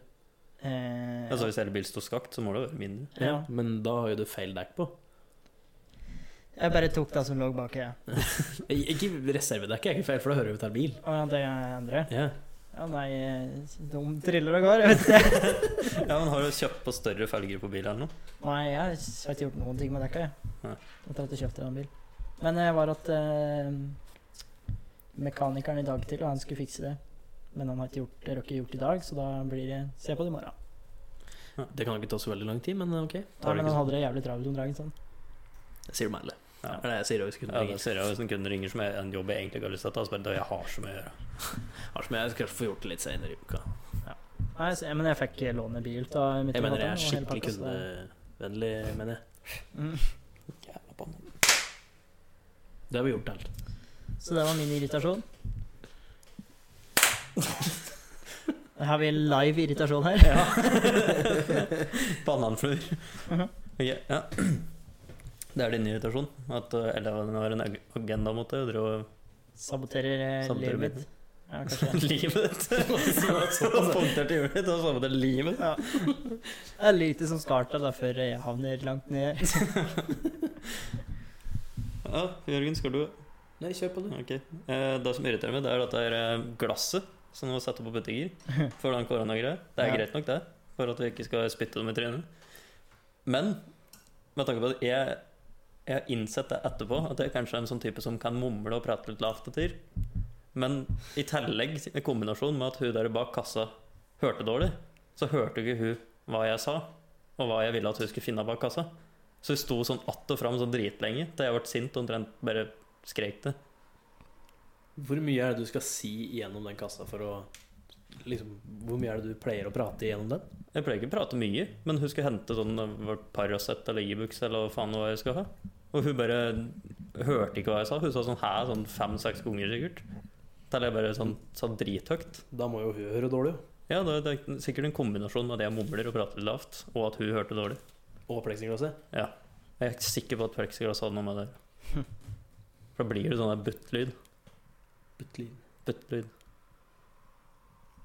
Speaker 3: Eh,
Speaker 2: Altså, hvis hele bilen sto skakt, så må det være mindre.
Speaker 3: ja.
Speaker 1: Men da har jo du feil dekk på.
Speaker 3: Jeg bare tok det som lå bak, jeg.
Speaker 1: Ik- Ikke reservedekk er ikke feil, for da hører du til bil.
Speaker 3: Å ja, det er andre.
Speaker 1: Ja.
Speaker 3: Ja, nei, de triller og går, jeg vet ikke.
Speaker 2: Ja, men Har du kjøpt på større felger på bilen eller noe?
Speaker 3: Nei, jeg har ikke gjort noen ting med dekka,
Speaker 2: Nei.
Speaker 3: jeg. Etter at jeg kjøpte den bilen. Men jeg var at eh, mekanikeren i dag til, og han skulle fikse det. Men han har ikke gjort det, røkker gjort i dag, så da blir det Se på det i morgen.
Speaker 1: Det kan jo ikke ta så veldig lang tid, men ok.
Speaker 3: Ja,
Speaker 2: Tar det
Speaker 3: men han
Speaker 2: ikke sånn?
Speaker 3: hadde det jævlig travelt om dagen, sånn.
Speaker 1: Det sier du meg alle.
Speaker 2: Ja.
Speaker 1: Det er det jeg sier også, kunne
Speaker 2: Ja,
Speaker 1: ringe.
Speaker 2: det ser jeg jo hvis en kunde ringer som er en jobb jeg egentlig ikke har lyst til å ta. Så bare, da, jeg har så mye å gjøre.
Speaker 1: Har som jeg kanskje får gjort det litt senere i uka.
Speaker 3: Nei, så, men jeg fikk låne bil eh, av
Speaker 1: Jeg mener jeg er skikkelig kundevennlig, mener jeg.
Speaker 3: Mm.
Speaker 2: Jævla banan.
Speaker 1: Det har vi gjort alt.
Speaker 3: Så det var min irritasjon. Har vi live irritasjon her?
Speaker 2: Bananfluer. Ok, ja. Det er din irritasjon? At uh, elevene har en ag- agenda mot deg? Og driver
Speaker 3: Saboterer eh,
Speaker 2: Saboterer
Speaker 3: livet
Speaker 2: bilen.
Speaker 3: mitt. Ja, kanskje
Speaker 2: og
Speaker 3: det.
Speaker 2: livet ditt? Punktert til hjulet ditt, og så med det livet.
Speaker 3: Ja. Det er lite som skal til da, før jeg havner langt ned.
Speaker 2: Ja, Jørgen, skal du
Speaker 1: Nei, kjør på,
Speaker 2: Ok. Eh, Det som irriterer meg, det er dette her eh, glasset som var satt opp på butikker for den koronagreia. Det er
Speaker 3: Ja.
Speaker 2: greit nok, det, for at vi ikke skal spytte dem i trynet. Men med tanke på at jeg, jeg har innsett det etterpå, at jeg kanskje er en sånn type som kan mumle og prate litt lavt og tyr. Men i tillegg, i kombinasjon med at hun der bak kassa hørte dårlig, så hørte ikke hun hva jeg sa, og hva jeg ville at hun skulle finne bak kassa. Så hun sto sånn att og fram sånn dritlenge til jeg ble sint og omtrent bare skrek det.
Speaker 1: Hvor mye er det du skal si gjennom den kassa for å liksom, Hvor mye er det du pleier å prate gjennom den?
Speaker 2: Jeg pleier ikke å prate mye, men hun skulle hente sånn eh, vårt Paracet eller Ibux eller hva faen det var jeg skulle ha. Og hun bare hørte ikke hva jeg sa. Hun sa sånn hæ sånn fem-seks ganger sikkert. Til jeg bare sånn, sa drithøyt.
Speaker 1: Da må jo hun høre dårlig, jo.
Speaker 2: Ja, det er- det er sikkert en kombinasjon med at jeg mumler og prater lavt, og at hun hørte dårlig.
Speaker 1: Og pleksiglasset.
Speaker 2: Jeg er ikke sikker på at plexiglass hadde noe med det å gjøre. For da blir det sånn der butt-lyd.
Speaker 1: Butt lyd.
Speaker 2: Butt-lyd.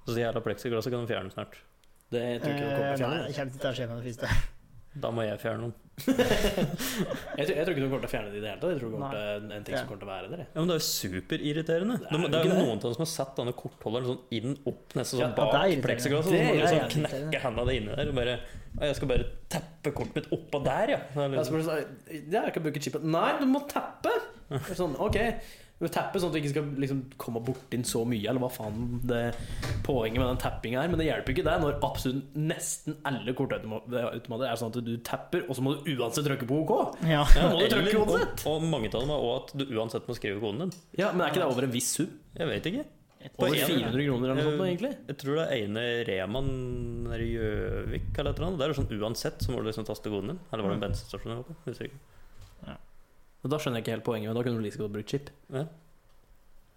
Speaker 2: Så det jævla plexiglasset kan du fjerne snart.
Speaker 1: Det tror jeg ikke det kommer
Speaker 3: Eh, Nei,
Speaker 1: til å
Speaker 3: det
Speaker 1: skje.
Speaker 3: kommer ikke til å skje med det første.
Speaker 2: Da må jeg fjerne noen.
Speaker 1: Jeg tror, jeg tror ikke du kommer til å fjerne det i det hele tatt. Jeg tror det kommer
Speaker 3: Nei.
Speaker 1: til en, en ting
Speaker 3: Ja.
Speaker 1: som kommer til å være der. jeg.
Speaker 2: Ja, men Det er jo superirriterende.
Speaker 1: Det
Speaker 2: Det
Speaker 1: er
Speaker 2: er,
Speaker 1: jo
Speaker 2: det er
Speaker 1: ikke
Speaker 2: jo
Speaker 1: det.
Speaker 2: noen av dem som har satt denne kortholderen sånn inn opp, nesten
Speaker 3: Ja,
Speaker 2: sånn
Speaker 3: ja,
Speaker 2: bak
Speaker 3: det er irriterende.
Speaker 2: plexiglasset.
Speaker 1: Det
Speaker 2: Så
Speaker 1: er
Speaker 2: må du sånn
Speaker 3: jævlig irriterende.
Speaker 2: knekke handa di inni der og bare «Å, Jeg skal bare teppe kortet mitt oppå der, ja. Det er
Speaker 1: Jeg
Speaker 2: liksom,
Speaker 1: spør, så- ja, jeg kan bruke chipen. Nei, du må tappe! Det er Sånn, ok. Du må tappe sånn at du ikke skal liksom, komme borti den så mye, eller hva faen det poenget med den tappinga er. Men det hjelper ikke deg når absolutt nesten alle kortautomater er sånn at du tapper, og så må du uansett trykke på OK.
Speaker 3: Ja.
Speaker 1: Da må du trykke
Speaker 2: eller-
Speaker 1: koden
Speaker 2: og, og mange av dem er også at du uansett må skrive koden din.
Speaker 1: Ja, Men er ikke det over en viss sum?
Speaker 2: Jeg vet ikke.
Speaker 1: Over
Speaker 2: en-
Speaker 1: 400 kroner eller noe sånt, nå,
Speaker 2: Eh,
Speaker 1: egentlig?
Speaker 2: Jeg tror det er ene Reman nede i Gjøvik eller et eller annet. Der er det sånn uansett så må du liksom taste koden din. Eller var
Speaker 1: Mm.
Speaker 2: det en bensinstasjon jeg var på? Husker ikke.
Speaker 1: Og da skjønner jeg ikke helt poenget, men da kunne du like så godt brukt chip.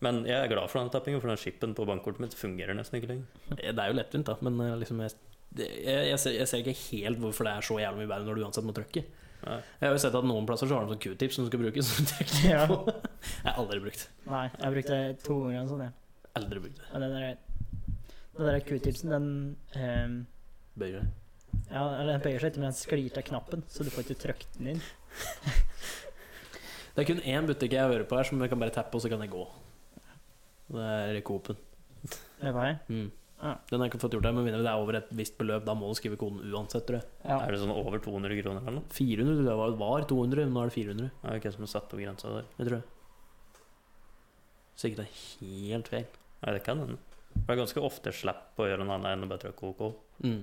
Speaker 2: Men jeg er glad for denne tappingen, for den chipen på bankkortet mitt fungerer nesten ikke lenger.
Speaker 1: Det er jo lettvint, da, men eh, liksom jeg, det- jeg, jeg, ser, jeg ser ikke helt hvorfor det er så jævlig mye verre når du uansett må trykke.
Speaker 2: Nei.
Speaker 1: Jeg har jo sett at noen plasser så har de sånn q-tips som skal brukes. Så trykker du
Speaker 3: Ja.
Speaker 1: på. Jeg har aldri brukt.
Speaker 3: Nei, jeg brukte det to ganger eller sånn, jeg.
Speaker 1: Aldri brukt det.
Speaker 3: Og den der, den der q-tipsen, den ehm,
Speaker 1: Bøyer det.
Speaker 3: Ja, eller den bøyer seg ikke, men den sklir til knappen, så du får ikke trykt den inn.
Speaker 1: Det er kun én butikk jeg hører på her som jeg kan bare tappe, og så kan jeg gå. Det er Coop-en.
Speaker 3: Det var jeg.
Speaker 1: Mm.
Speaker 3: Ja.
Speaker 1: Den har jeg ikke fått gjort der, men mindre det er over et visst beløp, da må du skrive koden uansett, tror jeg.
Speaker 3: Ja.
Speaker 2: Er det sånn over 200 kroner eller noe?
Speaker 1: 400 tror jeg var, var 200, nå er det 400,
Speaker 2: Det er jo ikke jeg som har satt opp grensa der.
Speaker 1: jeg tror jeg. Sikkert det er helt feil.
Speaker 2: Nei, det kan hende. For Det er ganske ofte slipp å gjøre noe annet enn å bare trykke OK.
Speaker 1: Mm.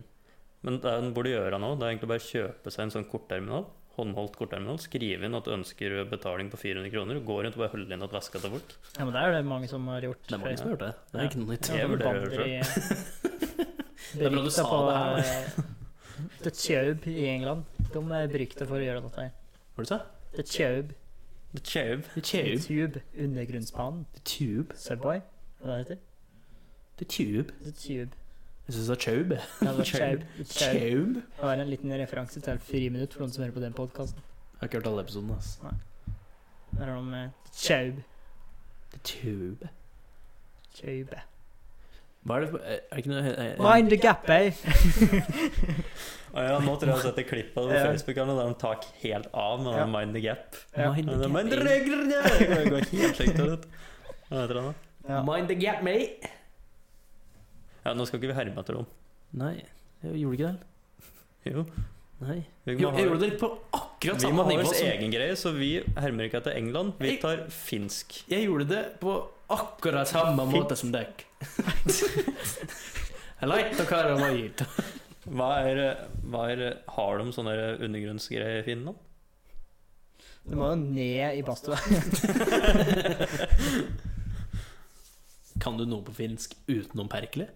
Speaker 2: Men det en burde gjøre nå, det er egentlig bare å kjøpe seg en sånn kortterminal. Håndholdt kortterminal. Skrive inn at du ønsker betaling på 400 kroner. Gå rundt og bare holde inn at veska til folk.
Speaker 3: ja, men det er det mange som har gjort.
Speaker 1: Det
Speaker 3: Sånn
Speaker 1: er mange som har gjort det. Det er
Speaker 2: Ja.
Speaker 1: ikke noe nytt.
Speaker 2: Ja. Jeg vurderer det
Speaker 1: er bra du sa det
Speaker 3: The Tube i England. De er beryktet for å gjøre dette her.
Speaker 1: Hva sa du?
Speaker 3: The Tube.
Speaker 2: The Tube.
Speaker 1: The
Speaker 3: The
Speaker 1: tube.
Speaker 3: Tube. Undergrunnsbanen.
Speaker 1: The tube.
Speaker 3: Subway. Hva det heter
Speaker 1: The tube.
Speaker 3: The Tube.
Speaker 1: Jeg syns det er tube.
Speaker 3: Ja, det var
Speaker 1: Tube.
Speaker 3: Tube. The Tube.
Speaker 1: Tube.
Speaker 3: Det var en liten referanse til Friminutt for noen som hører på den podkasten.
Speaker 1: Jeg har ikke hørt alle episodene. ass.
Speaker 3: Der har de eh, Tube.
Speaker 1: The tube.
Speaker 3: Tube.
Speaker 1: Hva er det for Er det ikke noe eh, eh,
Speaker 3: Mind the gap, eh?
Speaker 2: Å ja, nå tror jeg jeg har sett et klipp av det på
Speaker 3: Ja.
Speaker 2: Facebook der de tar helt av med
Speaker 3: Ja.
Speaker 2: den Mind the Gap.
Speaker 3: Ja.
Speaker 1: Mind the
Speaker 2: Mind
Speaker 1: gap,
Speaker 2: the
Speaker 1: mate.
Speaker 2: Gap. Det går helt sjukt ut. Hva heter han da?
Speaker 3: Ja.
Speaker 1: Mind the gap, mate.
Speaker 2: Ja, nå skal ikke vi herme etter dem.
Speaker 1: Nei, jeg gjorde ikke det.
Speaker 2: Jo.
Speaker 1: Nei.
Speaker 2: Vi
Speaker 1: Jo,
Speaker 2: må
Speaker 1: jeg
Speaker 2: ha,
Speaker 1: gjorde det på akkurat
Speaker 2: vi må
Speaker 1: samme
Speaker 2: ha
Speaker 1: nivå
Speaker 2: vår
Speaker 1: som
Speaker 2: egen greie, så vi hermer ikke etter England. Vi tar finsk.
Speaker 1: Jeg gjorde det på akkurat samme måte som deg. Jeg likte hva det var gitt.
Speaker 2: Hva er, hva er Har de sånne undergrunnsgreier i Finland?
Speaker 3: Du må jo ned i badstua.
Speaker 1: Kan du noe på finsk utenom Perkele?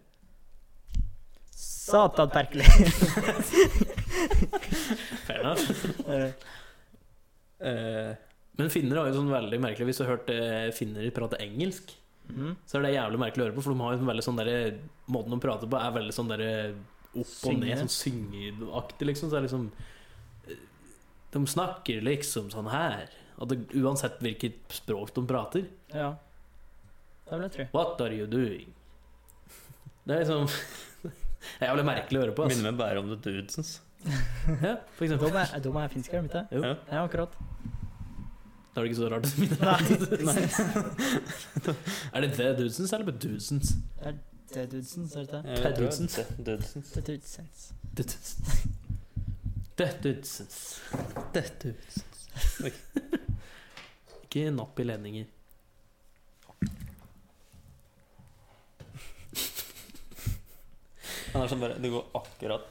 Speaker 3: Satan perkelig.
Speaker 1: Fair enough.
Speaker 2: Eh,
Speaker 1: Men finner har jo sånn veldig merkelig Hvis du har hørt eh, finner prate engelsk,
Speaker 3: Mhm.
Speaker 1: så er det jævlig merkelig å høre på, for de har jo en veldig sånn derre Måten de prater på, er veldig sånn derre opp og ned,
Speaker 3: Syngende.
Speaker 1: sånn syngeaktig, liksom. Så det er liksom eh, De snakker liksom sånn her. At det, uansett hvilket språk de prater
Speaker 3: Ja. Det vil jeg tro.
Speaker 1: What are you doing? Det er liksom Det er jævlig merkelig å høre på. ass.
Speaker 2: minner meg bare om The Dudesons.
Speaker 1: Ja, for
Speaker 3: De
Speaker 1: eksempel.
Speaker 3: er, de er finske, er de ikke? det?
Speaker 1: Jo.
Speaker 2: Ja.
Speaker 3: Ja, akkurat.
Speaker 1: Da er det ikke så rart. å minne meg. Er det The Dudesons eller The Dudesons?
Speaker 3: Det er Dudsens, er det ikke?
Speaker 2: Jeg tror
Speaker 1: Dudesons.
Speaker 2: Eh, det er Dudesons.
Speaker 3: Det er Dudsens.
Speaker 1: The Dudesons. The Dudesons.
Speaker 2: Det er Dudesons.
Speaker 1: Ikke napp i ledninger.
Speaker 2: Han er sånn bare Det går akkurat.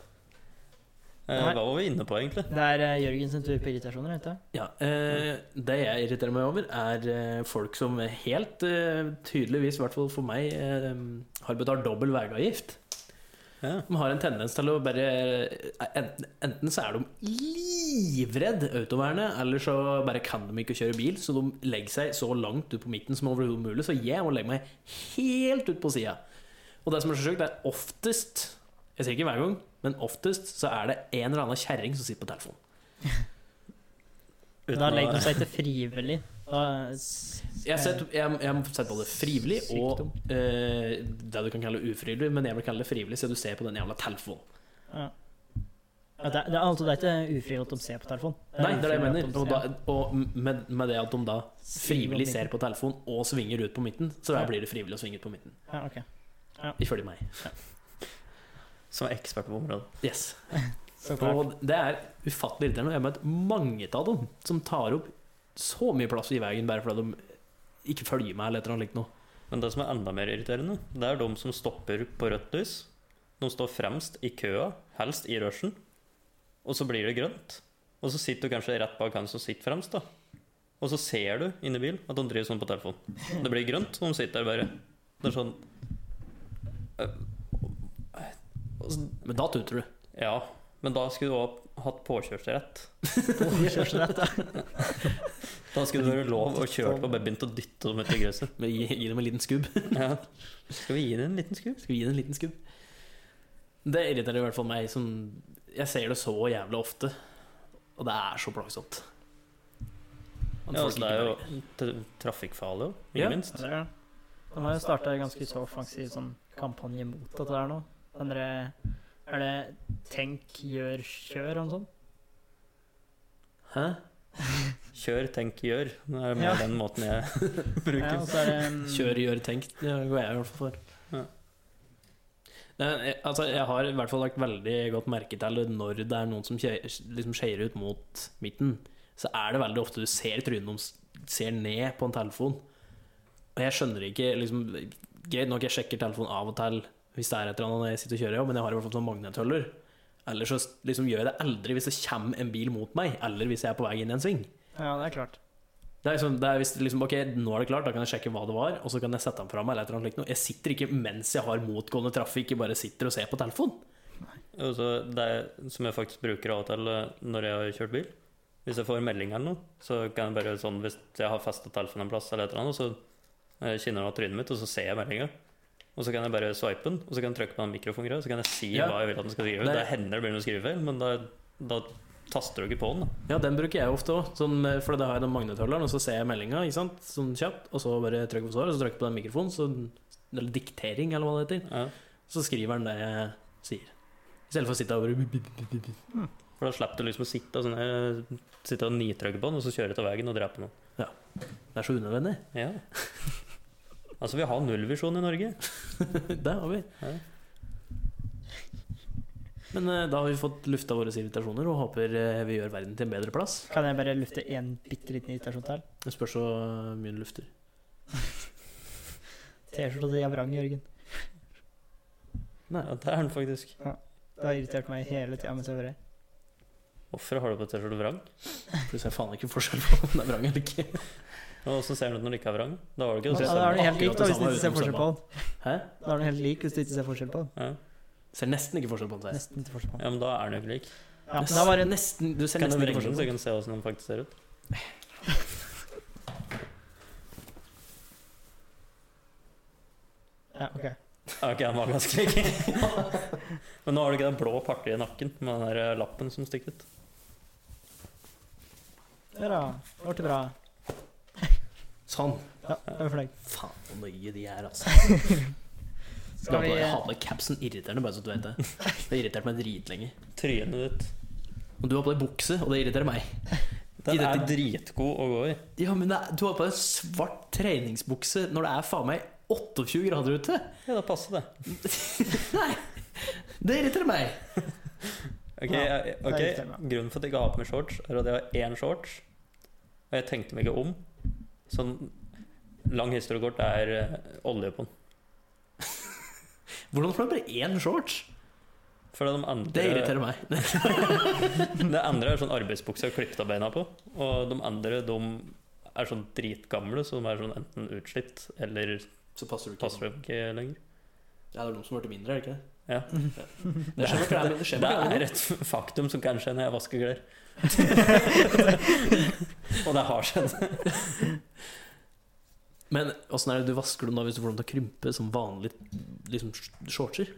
Speaker 2: Eh,
Speaker 3: Nei.
Speaker 2: hva var vi inne på, egentlig?
Speaker 3: Det er eh, Jørgen sin tur på irritasjoner, er det ikke? det?
Speaker 1: Ja, eh, Det jeg irriterer meg over, er eh, folk som helt eh, tydeligvis, i hvert fall for meg, eh, har betalt dobbel veiavgift.
Speaker 2: Ja.
Speaker 1: De har en tendens til å bare Enten, enten så er de livredd autovernet, eller så bare kan de ikke kjøre bil, så de legger seg så langt ut på midten som overhodet mulig. Så jeg må legge meg helt ut på sida. Og det som er så sjukt, det er oftest Jeg sier ikke hver gang, men oftest så er det en eller annen kjerring som sitter på telefonen.
Speaker 3: Men
Speaker 2: Uten
Speaker 3: Da
Speaker 2: å-
Speaker 3: legger de seg ikke frivillig. Da, s-
Speaker 1: Jeg har sett, jeg, jeg har sett både frivillig og
Speaker 3: Sykdom.
Speaker 1: eh, det du kan kalle ufrivillig, men jeg vil kalle det frivillig, så du ser på den jævla telefonen.
Speaker 3: Ja. Ja, det, er- det, er altså, det er ikke ufrigjort å se på telefon.
Speaker 1: Nei, det er det jeg mener. Og,
Speaker 3: ufrigjort å
Speaker 1: da,
Speaker 3: se.
Speaker 1: og med, med det at de da frivillig
Speaker 3: Svinger
Speaker 1: ser på telefonen og svinger ut på midten, så da
Speaker 3: Ja.
Speaker 1: blir det frivillig å svinge ut på midten.
Speaker 3: Ja, ok.
Speaker 1: Ifølge meg.
Speaker 2: Som er ekspert på området.
Speaker 1: Yes.
Speaker 3: Så klart.
Speaker 1: Og det er ufattelig irriterende. Jeg har møtt mange av dem som tar opp så mye plass i veien bare fordi de ikke følger meg eller et eller annet likt noe.
Speaker 2: Men det som er enda mer irriterende, det er de som stopper på rødt lys. De står fremst i køa, helst i rushen, og så blir det grønt. Og så sitter du kanskje rett bak han som sitter fremst, da. Og så ser du inni bilen at de driver sånn på telefonen. Det blir grønt, og de sitter der bare. Det er sånn Eh, og så-
Speaker 1: Men da tuter du.
Speaker 2: Ja, men da skulle du også hatt påkjørsrett.
Speaker 3: Påkjørsrett, ja.
Speaker 2: Da skulle det være lov å kjøre på babyen til å dytte dem ut i gresset.
Speaker 1: Men Gi, gi dem en liten skubb.
Speaker 2: Ja. Skal vi gi det en liten skubb?
Speaker 1: Skal vi gi dem en liten skubb? Det irriterer i hvert fall meg. Som jeg ser det så jævlig ofte. Og det er så plagsomt. At
Speaker 2: Ja,
Speaker 1: folk
Speaker 2: altså, det
Speaker 1: ikke
Speaker 2: er jo
Speaker 1: merker.
Speaker 2: tra- trafikkfarlig òg, ikke
Speaker 1: Ja.
Speaker 2: minst.
Speaker 3: Det er det. De har jo starta en ganske så offensiv sånn kampanje mot dette her nå. Den derre Er det 'tenk, gjør, kjør' eller noe sånt?
Speaker 1: Hæ?
Speaker 2: Kjør, tenk, gjør. Det er mer
Speaker 3: Ja.
Speaker 2: den måten jeg bruker.
Speaker 3: Ja, og så er det mm,
Speaker 1: Kjør, gjør, tenk. Det går jeg i hvert fall for.
Speaker 2: Ja.
Speaker 1: Nei, jeg, altså, jeg har i hvert fall lagt veldig godt merke til det når det er noen som skje- liksom skeier ut mot midten. Så er det veldig ofte du ser trynet deres ser ned på en telefon. Og jeg skjønner ikke liksom, Greit nok, jeg sjekker telefonen av og til hvis det er et eller annet når jeg sitter og kjører, ja, men jeg har i hvert fall sånn magnethøller. Ellers så liksom, gjør jeg det aldri hvis det kommer en bil mot meg, eller hvis jeg er på vei inn i en sving.
Speaker 3: Ja, det er klart.
Speaker 1: Det er liksom, det er hvis det liksom, ok, nå er det klart, da kan jeg sjekke hva det var, og så kan jeg sette den fra meg. eller et eller annet slikt noe. Jeg sitter ikke mens jeg har motgående trafikk, jeg bare sitter og ser på telefon.
Speaker 2: Og så det som jeg faktisk bruker av og til eh, når jeg har kjørt bil. Hvis jeg får melding eller noe, så kan jeg bare sånn Hvis jeg har festet telefonen en plass, eller et eller annet, så eh, kjenner den av trynet mitt, og så ser jeg meldinga. Og så kan jeg bare swipe den, og så kan jeg trykke på den mikrofongreia, og så kan jeg si
Speaker 1: Ja.
Speaker 2: hva jeg vil at den skal skrive.
Speaker 1: Det-
Speaker 2: Det hender det blir noen skrivefeil, men da, da taster du ikke på den. da.
Speaker 1: Ja, den bruker jeg ofte òg, sånn, eh, for da har jeg den magnethølleren, og så ser jeg meldinga ikke sant, sånn kjapt, og så bare trykker på svaret, og så trykker jeg på den mikrofonen, så, eller diktering, eller hva det heter,
Speaker 2: Ja.
Speaker 1: så skriver den det jeg sier. I stedet for å sitte og bare
Speaker 2: For da slipper du liksom å sitte og, sånn, eh, sitte og nitrykke på den, og så kjøre ut av veien og drepe noen.
Speaker 1: Det er så unødvendig.
Speaker 2: Ja. Altså, vi har nullvisjon i Norge.
Speaker 1: Det har vi.
Speaker 2: Ja.
Speaker 1: Men eh, da har vi fått lufta våre irritasjoner, og håper eh, vi gjør verden til en bedre plass.
Speaker 3: Kan jeg bare lufte en bitte liten irritasjon til?
Speaker 1: Det spørs så eh, mye du lufter.
Speaker 3: T-skjorta di er vrang, Jørgen.
Speaker 1: Nei.
Speaker 2: Ja, det er den faktisk.
Speaker 3: Det har irritert meg hele tida mens jeg har vært her.
Speaker 2: Hvorfor har du på T-skjorte vrang?
Speaker 1: For du ser faen ikke forskjell på om det er vrang eller ikke.
Speaker 2: Og Åssen ser den ut når det ikke er vrang? Da var det
Speaker 3: Ja,
Speaker 2: ikke det
Speaker 3: Da er den helt lik, da,
Speaker 1: Akkurat
Speaker 3: hvis du ikke
Speaker 1: det
Speaker 3: ser
Speaker 1: samme
Speaker 3: forskjell på den.
Speaker 1: Hæ?
Speaker 3: Da er den helt lik hvis du ikke ser forskjell på den.
Speaker 2: Ja.
Speaker 1: Ser nesten ikke forskjell på den.
Speaker 3: Nesten ikke forskjell på den.
Speaker 2: ja, men da er den jo ikke lik.
Speaker 3: Ja, men da var det
Speaker 1: nesten, du ser
Speaker 2: Kan du
Speaker 1: nesten ikke
Speaker 2: vrenge den, så
Speaker 1: forskjell på
Speaker 2: jeg kan se åssen den faktisk ser ut?
Speaker 3: Ja, ok.
Speaker 2: Ja, Ok, den var ganske lik. Men nå har du ikke den blå partiet i nakken med den der eh, lappen som stikker ut.
Speaker 3: Hurra. Det ble bra.
Speaker 1: den. Sånn.
Speaker 3: Ja, jeg er fornøyd.
Speaker 1: Faen så nøye de er, altså.
Speaker 3: Skal vi
Speaker 1: Jeg har på deg capsen irriterende, bare så du vet det. Det har irritert meg dritlenge.
Speaker 2: Trynet ditt.
Speaker 1: Og du har på deg bukse, og det irriterer meg.
Speaker 2: Den er
Speaker 1: Identitet-
Speaker 2: dritgod å gå i.
Speaker 1: Ja, men det, er- du har på deg svart treningsbukse når det er faen meg 28 grader ute.
Speaker 2: Ja, da passer det.
Speaker 1: Nei! Det irriterer meg.
Speaker 2: Ok,
Speaker 3: Ja,
Speaker 2: jeg, ok,
Speaker 3: det er riktig, ja.
Speaker 2: Grunnen for at jeg ikke har på meg shorts, er at jeg har én shorts, og jeg tenkte meg ikke om. Sånn lang historie kort det er eh, olje på den.
Speaker 1: Hvordan får du bare én shorts?
Speaker 2: For de andre,
Speaker 1: Det irriterer meg.
Speaker 2: det andre er sånn arbeidsbukse jeg har klippet av beina på, og de andre de er sånn dritgamle, så de er sånn enten utslitt eller
Speaker 1: Så passer du ikke.
Speaker 2: passer dem ikke lenger.
Speaker 1: Ja, det er noen som har vært mindre, er det ikke det?
Speaker 2: Ja.
Speaker 1: Det skjer med klærne det skjer
Speaker 2: Det
Speaker 1: med klærne
Speaker 2: er et faktum som kan skje når jeg vasker klær. og det har skjedd.
Speaker 1: Men åssen er det du vasker dem da hvis du får dem til å krympe som vanlig liksom, sh- shortser?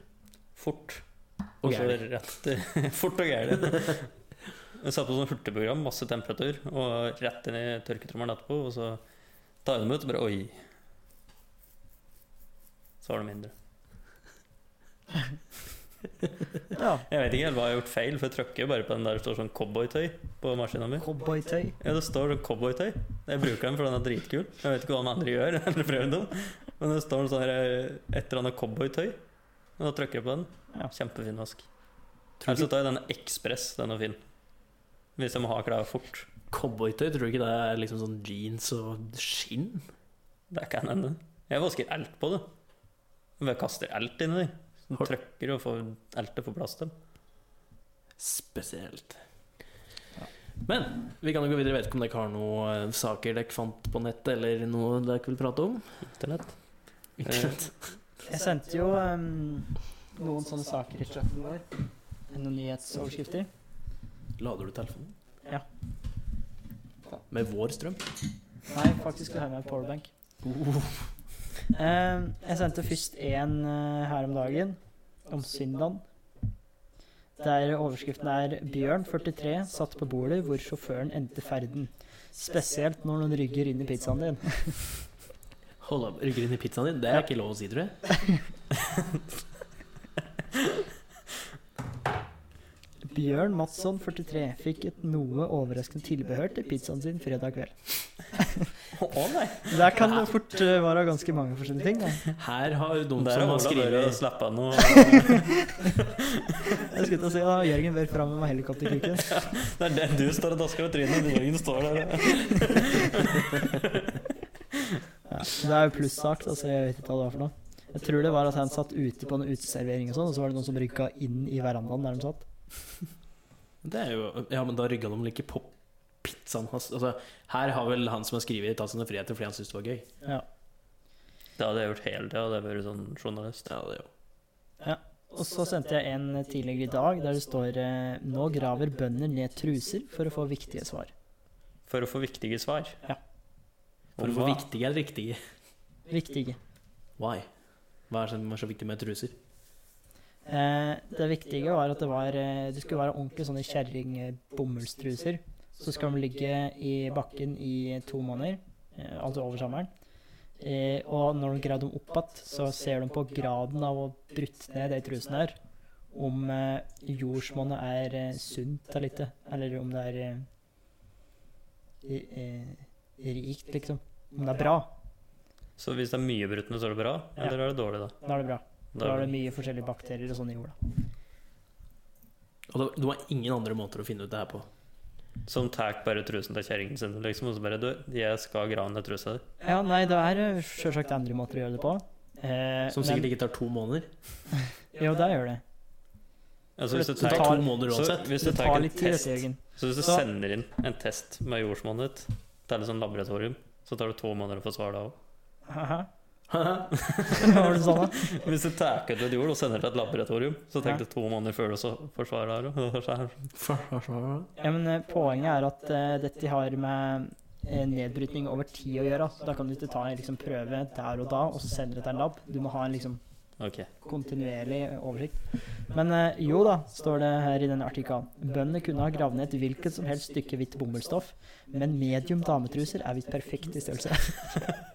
Speaker 2: Fort.
Speaker 1: Og
Speaker 2: Og så
Speaker 1: gærlig.
Speaker 2: rett eh, Fort og gærent. Jeg satt på sånn hurtigprogram, masse temperatur, og rett inn i tørketrommelen etterpå. Og så tar jeg dem ut, og bare oi. Så var det mindre.
Speaker 3: Ja.
Speaker 2: Jeg vet ikke helt hva jeg har gjort feil, for jeg tråkker jo bare på den der det står sånn cowboytøy på maskina mi.
Speaker 3: Cowboytøy.
Speaker 2: Ja, det står sånn cowboytøy. Jeg bruker den for den er dritkul. Jeg vet ikke hva de andre gjør, eller prøver dem. Men det står sånn her, eh, et eller annet cowboytøy. Og da tråkker jeg på den.
Speaker 3: Ja.
Speaker 2: Kjempefin vask. Eller så tar jeg denne Ekspress, den er fin. Hvis jeg må ha klær fort.
Speaker 1: Cowboytøy, tror du ikke det er liksom sånn jeans og skinn?
Speaker 2: Det kan hende. Jeg vasker alt på det. Jeg kaster alt inni det. Sånn
Speaker 1: Har-
Speaker 2: Trykker og får alt det får plass til.
Speaker 1: Spesielt. Men vi kan jo gå videre. Jeg vet ikke om dere har noen eh, saker dere fant på nettet, eller noe dere vil prate om?
Speaker 2: Internett.
Speaker 1: Internett.
Speaker 3: Jeg sendte jo ehm, noen sånne saker i chatten vår. Noen nyhetsoverskrifter.
Speaker 2: Eh.
Speaker 1: Lader du telefonen?
Speaker 3: Ja.
Speaker 1: Med vår strøm?
Speaker 3: Nei, faktisk har jeg med powerbank. Ehm, jeg sendte først én her om dagen, om Syndan. Der overskriften er 'Bjørn 43 satt på bordet hvor sjåføren endte ferden'. Spesielt når noen rygger inn i pizzaen din.
Speaker 1: Hold opp, rygger inn i pizzaen din? Det er ikke lov å si, tror jeg.
Speaker 3: Bjørn Madsson, 43, fikk et noe overraskende tilbehør til pizzaen sin fredag kveld.
Speaker 2: Å nei!
Speaker 3: Der kan det fort eh, være ganske mange forskjellige ting. Da.
Speaker 1: Her har de som
Speaker 2: Der har
Speaker 1: har
Speaker 2: Ola bare
Speaker 1: skrevet
Speaker 2: slappa av noe.
Speaker 3: Jeg skulle til å si da, Jørgen bør fram med helikopterkuken.
Speaker 2: Det er det du står og dasker ved trynet, og Jørgen står der.
Speaker 3: Ja, det er jo plussak, altså jeg vet ikke hva det var for noe. Jeg tror det var at han satt ute på en uteservering og sånn, og så var det noen som rykka inn i verandaen der de satt.
Speaker 1: Det er jo Ja, men da rygga de vel ikke på pizzaen hans? Altså, her har vel han som har skrevet, tatt sine friheter fordi han syntes det var gøy.
Speaker 2: Det hadde jeg gjort hele tida, hadde jeg vært sånn journalist.
Speaker 1: Ja, det er jo
Speaker 3: Og så sendte jeg en tidligere i dag der det står eh, Nå graver bønder ned truser for å få viktige svar.
Speaker 2: For å få viktige svar.
Speaker 3: Ja.
Speaker 1: For
Speaker 2: Om
Speaker 1: hvor
Speaker 2: hva?
Speaker 1: viktige er riktige?
Speaker 3: Viktige.
Speaker 1: Why? Hva er det som er så viktig med truser?
Speaker 3: Eh, det viktige var at det, var, eh, det skulle være ordentlig sånne kjerringbomullstruser. Så skal de ligge i bakken i to måneder, eh, altså over sommeren. Eh, og når de graver dem opp igjen, så ser de på graden av å brutt ned de trusene her. Om eh, jordsmonnet er eh, sunt eller ikke, eller om det er eh, i- eh, rikt, liksom. Om det er bra,
Speaker 2: Så hvis det er mye brutt ned, så er det bra?
Speaker 3: Ja.
Speaker 2: Eller er det dårlig, da?
Speaker 3: da er det bra.
Speaker 2: Da
Speaker 3: Da er det mye forskjellige bakterier og sånn i jorda.
Speaker 1: Og det, det var ingen andre måter å finne ut det her på.
Speaker 2: Som tar bare trusen til kjerringen sin, liksom, og så bare Du, jeg skal grave ned trusa di.
Speaker 3: Ja, nei, det er eh, sjølsagt andre måter å gjøre det på. Eh,
Speaker 1: Som sikkert ikke tar to måneder.
Speaker 3: Jo, det gjør det.
Speaker 2: Altså, hvis du
Speaker 1: Så det
Speaker 2: tar,
Speaker 1: tar to
Speaker 3: tar-
Speaker 1: måneder
Speaker 2: så,
Speaker 1: uansett.
Speaker 2: hvis du
Speaker 3: Det
Speaker 2: tar
Speaker 3: tar
Speaker 2: en
Speaker 3: litt tid,
Speaker 2: test,
Speaker 3: dette, Jørgen.
Speaker 2: så hvis du
Speaker 3: Så-
Speaker 2: sender inn en test med jordsmonnet ditt til et sånt laboratorium, så tar det to måneder å få svar da òg.
Speaker 3: Haha.
Speaker 1: Haha.
Speaker 3: Var det sånn, da?
Speaker 2: Hvis du tar ut litt jord og sender det til et laboratorium, så
Speaker 3: Ja.
Speaker 2: tar det to måneder før du så får svar der òg.
Speaker 3: Ja, men eh, poenget er at eh, dette har med eh, nedbrytning over tid å gjøre. Så da kan du ikke ta en liksom, prøve der og da, og så sende det til en lab. Du må ha en liksom
Speaker 2: Ok.
Speaker 3: kontinuerlig oversikt. Men eh, jo da, står det her i denne artikkelen. Bøndene kunne ha gravd ned et hvilket som helst stykke hvitt bomullsstoff, men medium dametruser er visst perfekt i størrelse.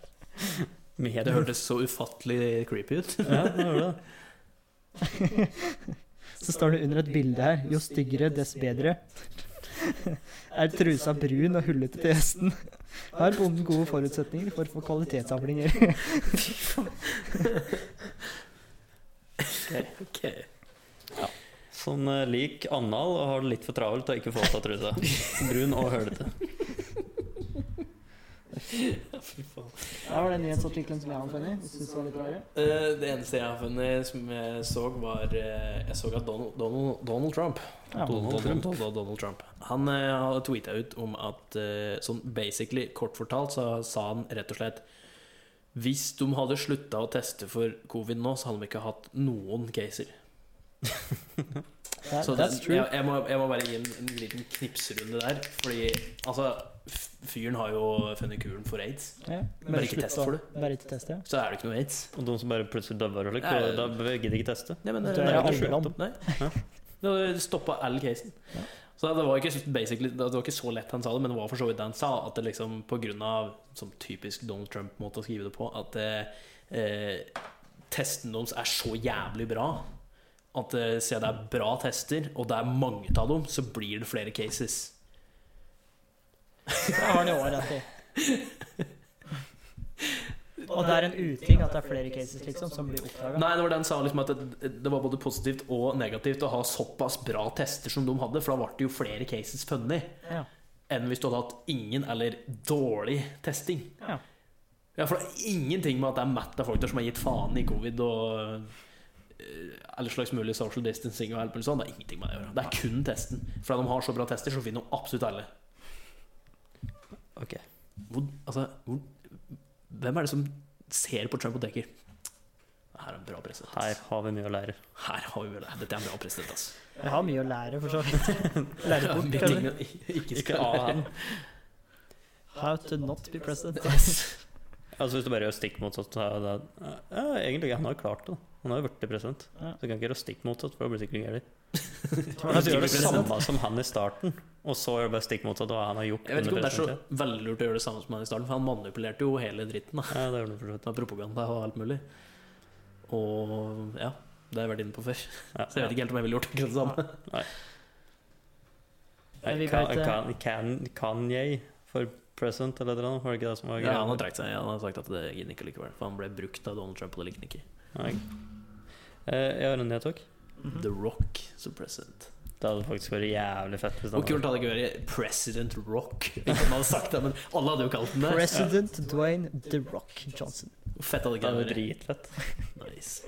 Speaker 2: Mer
Speaker 1: Det hørtes så ufattelig creepy ut.
Speaker 2: Ja, det gjør det.
Speaker 3: Så står det under et bilde her Jo styggere, dess bedre. Er trusa brun og hullete til gjesten? Har bonden gode forutsetninger for å få kvalitetsavlinger?
Speaker 1: Ok.
Speaker 2: Sånn eh, lik annal og har det litt for travelt og ikke får tatt trusa. Brun og hølete.
Speaker 3: Der var den nyhetsartikkelen som jeg har funnet. Hvis du så litt rarere.
Speaker 1: Eh, Det eneste jeg har funnet som jeg så, var eh, Jeg så at Donald, Donald, Donald Trump
Speaker 3: Ja,
Speaker 1: Donald,
Speaker 2: Donald
Speaker 1: Donald,
Speaker 2: Trump.
Speaker 1: Donald, Donald Trump Han eh, har tweeta ut om at eh, Sånn basically, kort fortalt, så sa han rett og slett Hvis de hadde slutta å teste for covid nå, så hadde de ikke hatt noen caser.
Speaker 3: that,
Speaker 1: Så det,
Speaker 3: that's true.
Speaker 1: jeg, jeg, må, jeg må bare gi en, en liten knipsrunde der, fordi altså f- Fyren har jo funnet kuren for aids.
Speaker 3: Ja,
Speaker 1: Bare ikke
Speaker 3: slutt
Speaker 1: test
Speaker 3: å-
Speaker 1: for det.
Speaker 3: Bare ikke test, ja.
Speaker 1: Så er det ikke noe aids.
Speaker 2: Og de som bare plutselig døver og lik,
Speaker 1: Nei.
Speaker 2: da bør jeg gidder ikke teste.
Speaker 1: Nei, men
Speaker 3: Det
Speaker 1: det,
Speaker 3: er
Speaker 1: det er
Speaker 3: aldri
Speaker 1: ikke
Speaker 3: land.
Speaker 1: skjønt opp. Nei. Det stoppa all casen.
Speaker 3: Ja.
Speaker 1: Så det var, ikke, basically, det var ikke så lett han sa det, men det var for så vidt det han sa. At det liksom på grunn av, som typisk Donald Trump-måte å skrive det på, at eh, eh, testen deres er så jævlig bra at eh, siden det er bra tester, og det er mange av dem, så blir det flere cases.
Speaker 3: Det har han i år rett i. Og det er en uting at det er flere cases liksom som blir oppdaga.
Speaker 1: Nei, det var den sa liksom at det, det var både positivt og negativt å ha såpass bra tester som de hadde, for da ble det jo flere cases funnet
Speaker 3: Ja.
Speaker 1: enn hvis du hadde hatt ingen eller dårlig testing.
Speaker 3: Ja.
Speaker 1: Ja, for det er ingenting med at det er mett av folk der som har gitt faen i covid og eh, all slags mulig social distancing og alt mulig sånt. Det er ingenting med det å gjøre. Det er kun testen. For når de har så bra tester, så finner de absolutt alle.
Speaker 2: Ok.
Speaker 1: Hvor, altså, hvor, hvem er det som ser på Trump og tenker Her er en bra president. ass.
Speaker 2: Her har vi mye å lære.
Speaker 1: Her har vi vel det. Dette er en bra president, altså.
Speaker 3: Jeg har mye å lære, for så vidt. Lære bort,
Speaker 1: Mye ting
Speaker 3: eller?
Speaker 1: man ikke skal ha han.
Speaker 3: How to not be president.
Speaker 2: Altså Hvis du bare gjør stikk motsatt, så er det ja, Egentlig, han har jo klart det. da. Han har jo blitt president. Så
Speaker 3: Ja.
Speaker 2: du kan ikke gjøre stikk motsatt, for da blir det sikkert gærent.
Speaker 3: Han
Speaker 1: altså,
Speaker 2: Du gjør det
Speaker 3: blir president.
Speaker 2: samme som han i starten, og så gjør du bare stikk motsatt av hva han har gjort.
Speaker 1: Jeg vet ikke om
Speaker 2: under
Speaker 1: det er så
Speaker 2: presidenttiden.
Speaker 1: veldig lurt å gjøre det samme som han i starten, for han manipulerte jo hele dritten. da
Speaker 2: Ja, det gjør du for så vidt.
Speaker 1: Med propaganda og alt mulig. Og ja, det har jeg vært inne på før.
Speaker 2: Ja,
Speaker 1: Så jeg vet ikke helt om jeg ville gjort akkurat det samme.
Speaker 2: Nei,
Speaker 3: Men vi
Speaker 2: Ka-
Speaker 3: vet, eh,
Speaker 2: Ka- Kan- Kanye for president eller et eller annet? Var det ikke det som var
Speaker 1: Ja,
Speaker 2: greia?
Speaker 1: han har trukket seg. Han har sagt at det gidder ikke likevel. For han ble brukt av Donald Trump, og det likte han ikke.
Speaker 2: Nei. Eh, Jeg har en nyhet òg.
Speaker 1: The Rock som president.
Speaker 2: Det hadde faktisk vært jævlig fett. Hvis han
Speaker 1: Og
Speaker 2: hadde-
Speaker 1: kult hadde det ikke vært President Rock. Ikke at man hadde sagt det, men alle hadde jo kalt den det.
Speaker 3: President Dwayne The Rock Johnson.
Speaker 1: Hvor Fett hadde
Speaker 2: Det
Speaker 1: ikke
Speaker 2: hadde
Speaker 1: det
Speaker 2: vært
Speaker 1: vært.
Speaker 2: dritfett.
Speaker 1: Nice.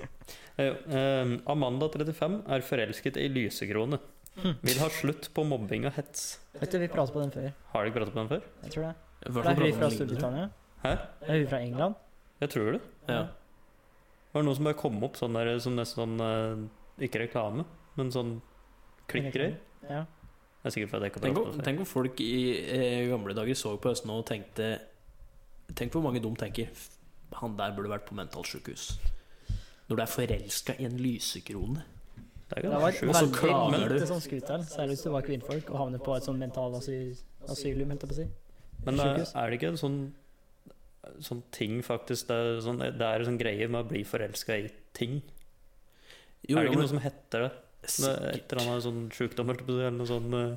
Speaker 2: Eh, jo, eh, Amanda 35 er forelsket i lysekrone.
Speaker 3: Hm.
Speaker 2: Vil ha slutt på mobbing og hets.
Speaker 3: Vet du, vi pratet på den før.
Speaker 2: Har du ikke pratet på den før?
Speaker 3: Jeg tror det.
Speaker 1: Hva
Speaker 3: Det er hun
Speaker 1: for
Speaker 3: fra
Speaker 1: noe lignende?
Speaker 3: Storbritannia.
Speaker 2: Hæ?
Speaker 3: Det er hun fra England.
Speaker 2: Jeg tror det.
Speaker 1: Ja.
Speaker 2: Det var noen som bare kom opp sånn der, som nesten sånn eh, Ikke reklame, men sånn klikkgreier.
Speaker 3: Ja.
Speaker 2: Det er sikkert fordi jeg ikke
Speaker 1: Tenk
Speaker 2: har pratet
Speaker 1: om,
Speaker 2: på det før.
Speaker 1: tenk om folk i eh, gamle dager så på Østen og tenkte Tenk hvor mange dum tenker "F- Han der burde vært på mentalsykehus. Når du er forelska i en lysekrone.
Speaker 2: Det er
Speaker 3: Det
Speaker 2: jo
Speaker 3: var
Speaker 2: ganske
Speaker 3: veldig
Speaker 1: så
Speaker 2: sjukt.
Speaker 1: klager
Speaker 3: lite
Speaker 1: du.
Speaker 3: sånn skuteren, særlig hvis du var kvinnfolk og havnet på et sånn mental asyl, asylum, holdt jeg på å si.
Speaker 2: Men eh,
Speaker 3: Sykehus.
Speaker 2: er det ikke en sånn Sånn ting, faktisk. Det er, sånn, det er en sånn greie med å bli forelska i ting.
Speaker 1: Jo,
Speaker 2: er det
Speaker 1: jo,
Speaker 2: ikke
Speaker 1: men
Speaker 2: noe som heter det? Det er Et
Speaker 1: sikkert.
Speaker 2: eller annet sånn sjukdom, holdt jeg på å si, eller noe sånn eh,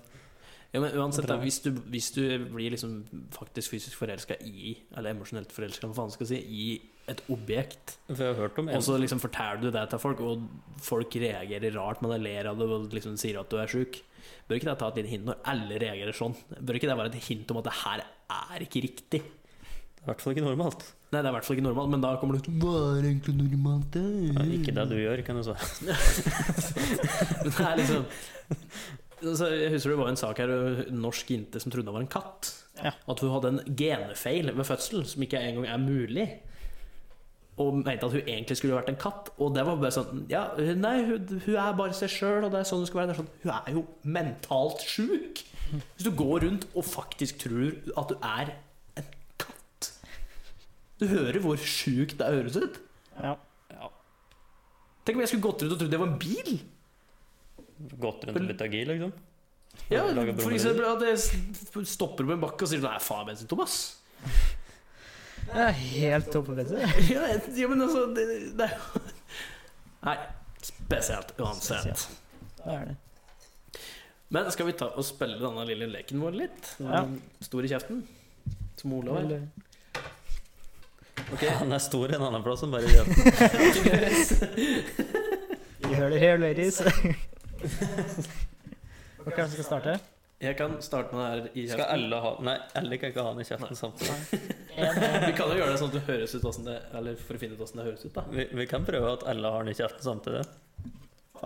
Speaker 1: Ja, men uansett, da,
Speaker 2: Bra.
Speaker 1: hvis, du, hvis du blir liksom faktisk fysisk forelska i, eller emosjonelt forelska, hva faen skal jeg si, i et objekt,
Speaker 2: For jeg har hørt om en
Speaker 1: og så liksom forteller du det til folk, og folk reagerer rart, men de ler av det og liksom sier at du er sjuk, bør ikke det ta et lite hint når alle reagerer sånn? Bør ikke det være et hint om at det her er ikke riktig?
Speaker 2: Det er i hvert fall ikke normalt.
Speaker 1: Nei, det er i hvert fall ikke normalt, men da kommer det ut Hva er egentlig normalt?
Speaker 2: Det
Speaker 1: Det
Speaker 2: er ikke det du gjør, kan du si.
Speaker 1: Men det er liksom så jeg husker det var en sak her En norsk jente som trodde hun var en katt.
Speaker 3: Ja.
Speaker 1: At hun hadde en genfeil ved fødsel som ikke engang er mulig. Og mente at hun egentlig skulle vært en katt. Og det var bare sånn Ja, nei, hun, hun er bare seg sjøl, og det er sånn hun skal være. Det er sånn, hun er jo mentalt sjuk! Hvis du går rundt og faktisk tror at du er en katt Du hører hvor sjukt det høres ut.
Speaker 3: Ja.
Speaker 1: Tenk om jeg skulle gått rundt og trodd jeg var en bil!
Speaker 2: Gått rundt og blitt agil, liksom.
Speaker 1: Ja,
Speaker 2: Lager
Speaker 1: for
Speaker 2: brummer.
Speaker 1: eksempel at jeg s- stopper på en bakke og sier Nei, faen, bensin, Thomas.
Speaker 3: Jeg er helt topp på bensin.
Speaker 1: ja, jeg- ja, men altså det, det. er jo- Nei, spesielt uansett.
Speaker 3: Spesielt. Det er det.
Speaker 1: Men skal vi ta og spille denne lille leken vår litt? Den
Speaker 3: Ja.
Speaker 1: Stor i kjeften? Som Olav er.
Speaker 3: Eller-
Speaker 1: Ok.
Speaker 2: Han er stor i en annen plass enn bare i den.
Speaker 3: You heard it here, ladies. Ok, hvem skal starte?
Speaker 1: Jeg kan starte med det her i
Speaker 2: Skal
Speaker 1: kjeften.
Speaker 2: alle ha Nei, alle kan ikke ha den i kjeften samtidig.
Speaker 1: Vi
Speaker 3: eh,
Speaker 1: kan jo gjøre det sånn at det høres ut hvordan det, Eller for å finne ut åssen det høres ut, da.
Speaker 2: Vi, vi kan prøve at alle har den i kjeften samtidig.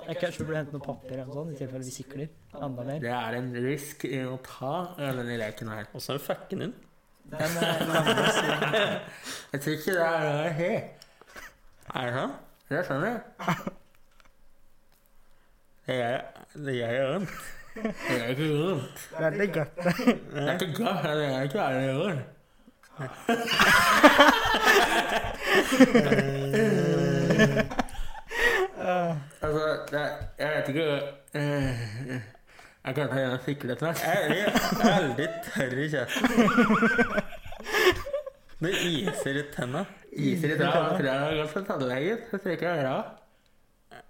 Speaker 3: Jeg kanskje burde hente noe papir eller noe sånt, i tilfelle vi sikler. Enda mer.
Speaker 1: Det er en risk i å ta denne leken her.
Speaker 2: Åssen er det facken din?
Speaker 3: Den er langest.
Speaker 1: Jeg tror ikke det er helt
Speaker 2: Er det sånn?
Speaker 1: Det skjønner jeg.
Speaker 2: Det gjør det gjør den.
Speaker 1: Det er ikke grunn.
Speaker 3: Det er litt godt.
Speaker 1: Det er ikke glass, det er ikke ærlig gjør. Altså, det er, jeg vet ikke eh, Jeg kan ta igjen sikkerhet snart.
Speaker 2: Jeg er veldig tørr i kjeften. Det iser i tenna.
Speaker 1: Iser i dag, tror jeg det er godt for tannlegen. Så trekker jeg øra.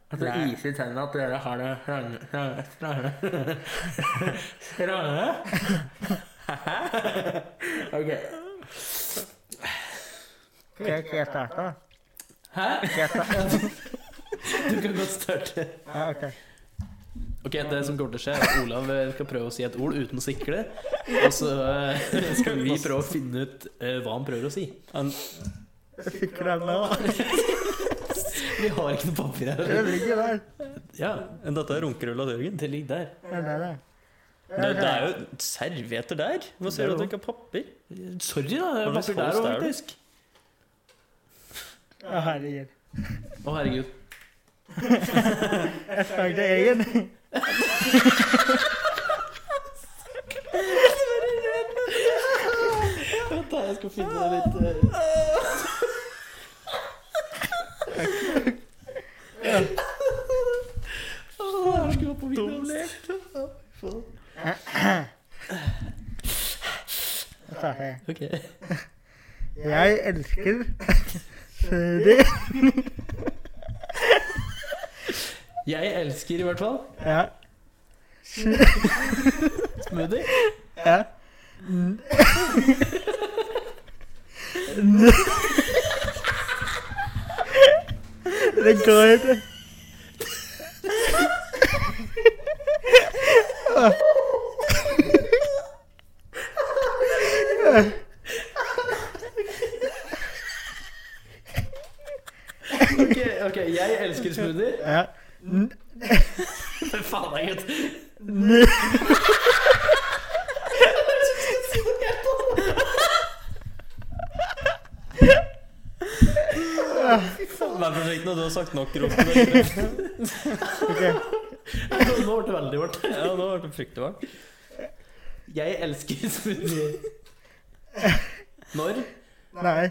Speaker 5: At det
Speaker 2: Nei.
Speaker 5: iser i tennene at dere har det strange Strange? Strange? strange. Ok.
Speaker 3: Skal jeg- skal jeg starte?
Speaker 5: Hæ?
Speaker 3: Skal jeg starte?
Speaker 1: Du kan godt starte.
Speaker 3: Ja, ok.
Speaker 1: Ok, Det som kommer til å skje, er at Olav eh, skal prøve å si et ord uten å sikle. Og så eh, skal vi prøve å finne ut eh, hva han prøver å si.
Speaker 3: Jeg fikk den nå.
Speaker 1: Vi har ikke noe papir her.
Speaker 3: Det ligger der.
Speaker 1: Ja,
Speaker 2: Dette er runkerull av Jørgen.
Speaker 1: det ligger der.
Speaker 3: Det er der, det.
Speaker 2: Det, det er jo servietter der! Hva ser du at du ikke har papir?
Speaker 1: Sorry, da. Det
Speaker 2: Har
Speaker 1: er
Speaker 2: du
Speaker 1: papir der
Speaker 2: solgt
Speaker 1: òg,
Speaker 2: der, du?
Speaker 1: faktisk.
Speaker 3: Å, herregud.
Speaker 1: Å, herregud.
Speaker 3: Jeg snakket egen.
Speaker 1: Vent, da. Jeg skal finne litt eh, Åh, jeg skulle vært på videolek.
Speaker 3: Jeg tar det.
Speaker 1: Ok.
Speaker 3: Jeg elsker Siri.
Speaker 1: Jeg elsker i hvert fall
Speaker 3: Ja.
Speaker 1: smoothie.
Speaker 3: Ja. Det går ikke.
Speaker 1: Ok, ok, jeg elsker smoothie.
Speaker 3: Ja.
Speaker 1: Men faen deg, gutt.
Speaker 2: Vær forsiktig når du har sagt nok rot. til det.
Speaker 3: Ok.
Speaker 1: Nå nå ble det veldig vårt.
Speaker 2: Ja, nå ble det fryktelig varmt.
Speaker 1: Jeg elsker smoothie. Når?
Speaker 3: Nei.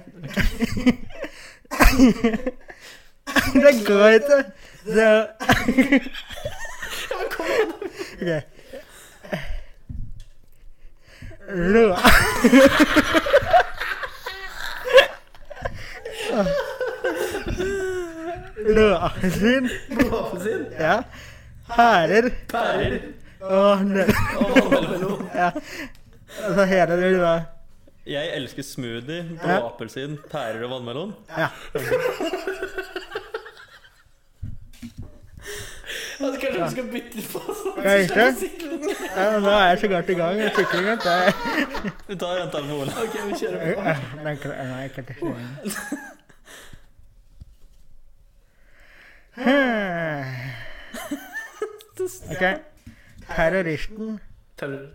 Speaker 3: Det går ikke. Det Ok. Lå. Løasin,
Speaker 1: Blåappelsin?
Speaker 3: ja. Hærer
Speaker 1: Pærer?
Speaker 3: og nø-
Speaker 1: Og vannmelon?
Speaker 3: Ja. Altså hele det lua.
Speaker 2: Jeg elsker smoothie, blåappelsin, pærer og vannmelon.
Speaker 3: Ja.
Speaker 1: Altså, Kanskje vi skal bytte på sånn?
Speaker 3: Skal jeg ikke? Ja, men Nå er jeg så godt i gang med syklingen at jeg
Speaker 2: Vi tar en til med Ola.
Speaker 1: Ok, vi kjører på.
Speaker 3: Nei, jeg kan- nei, jeg kan ikke si det. Ok. Terroristen
Speaker 1: Terror.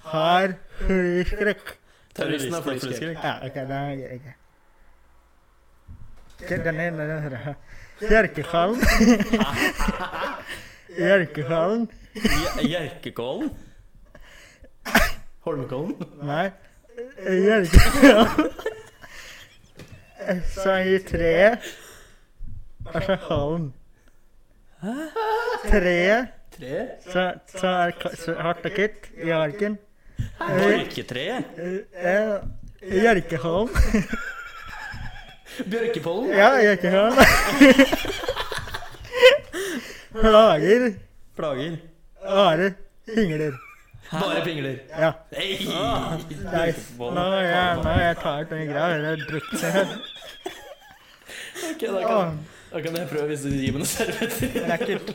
Speaker 3: har flyskrekk.
Speaker 1: Terroristen har flyskrekk.
Speaker 3: Ja, ok, det er greit. Ok, Den ene den hører jeg. Bjerkefallen. Bjerkefallen.
Speaker 2: Gjer- Gjerkekålen?
Speaker 1: Holmenkollen?
Speaker 3: Nei. Bjerkefallen. Sang i treet. Altså hallen. Treet.
Speaker 1: Tre?
Speaker 3: Så, så er ka- så hardt og kutt i arken.
Speaker 2: Bjørketreet?
Speaker 3: Bjerkeholm.
Speaker 1: Bjørkepollen?
Speaker 3: Ja, Bjerkeholm. Plager
Speaker 2: Plager.
Speaker 3: Are Hingler.
Speaker 1: Bare pingler.
Speaker 3: Ja.
Speaker 1: Hey.
Speaker 3: Nice. Nå er jeg, nå er jeg tar ut den greia. Jeg har drukket meg helt.
Speaker 1: Ok, da
Speaker 3: Å,
Speaker 1: kan, da kan jeg prøve hvis du gir meg noen servietter.
Speaker 3: Lekkert.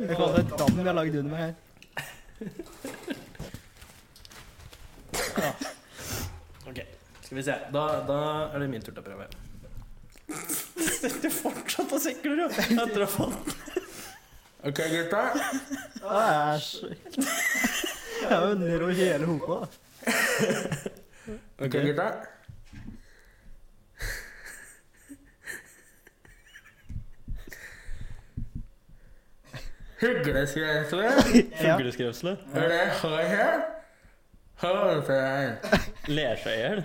Speaker 3: Det er bare dam vi har lagd under meg her.
Speaker 1: Ok, skal vi se. Da, da er det min tur til å prøve.
Speaker 2: Sitter fortsatt og sikler, jo. Etter å ha fått
Speaker 5: Ok, gutta.
Speaker 3: Æsj. Jeg er jo nedover hele hopa.
Speaker 5: Ok, gutta. Hygleskrensler.
Speaker 3: Ja.
Speaker 2: fugleskrevselet.
Speaker 5: Når det har her, hold til deg.
Speaker 2: Ler seg i hjel.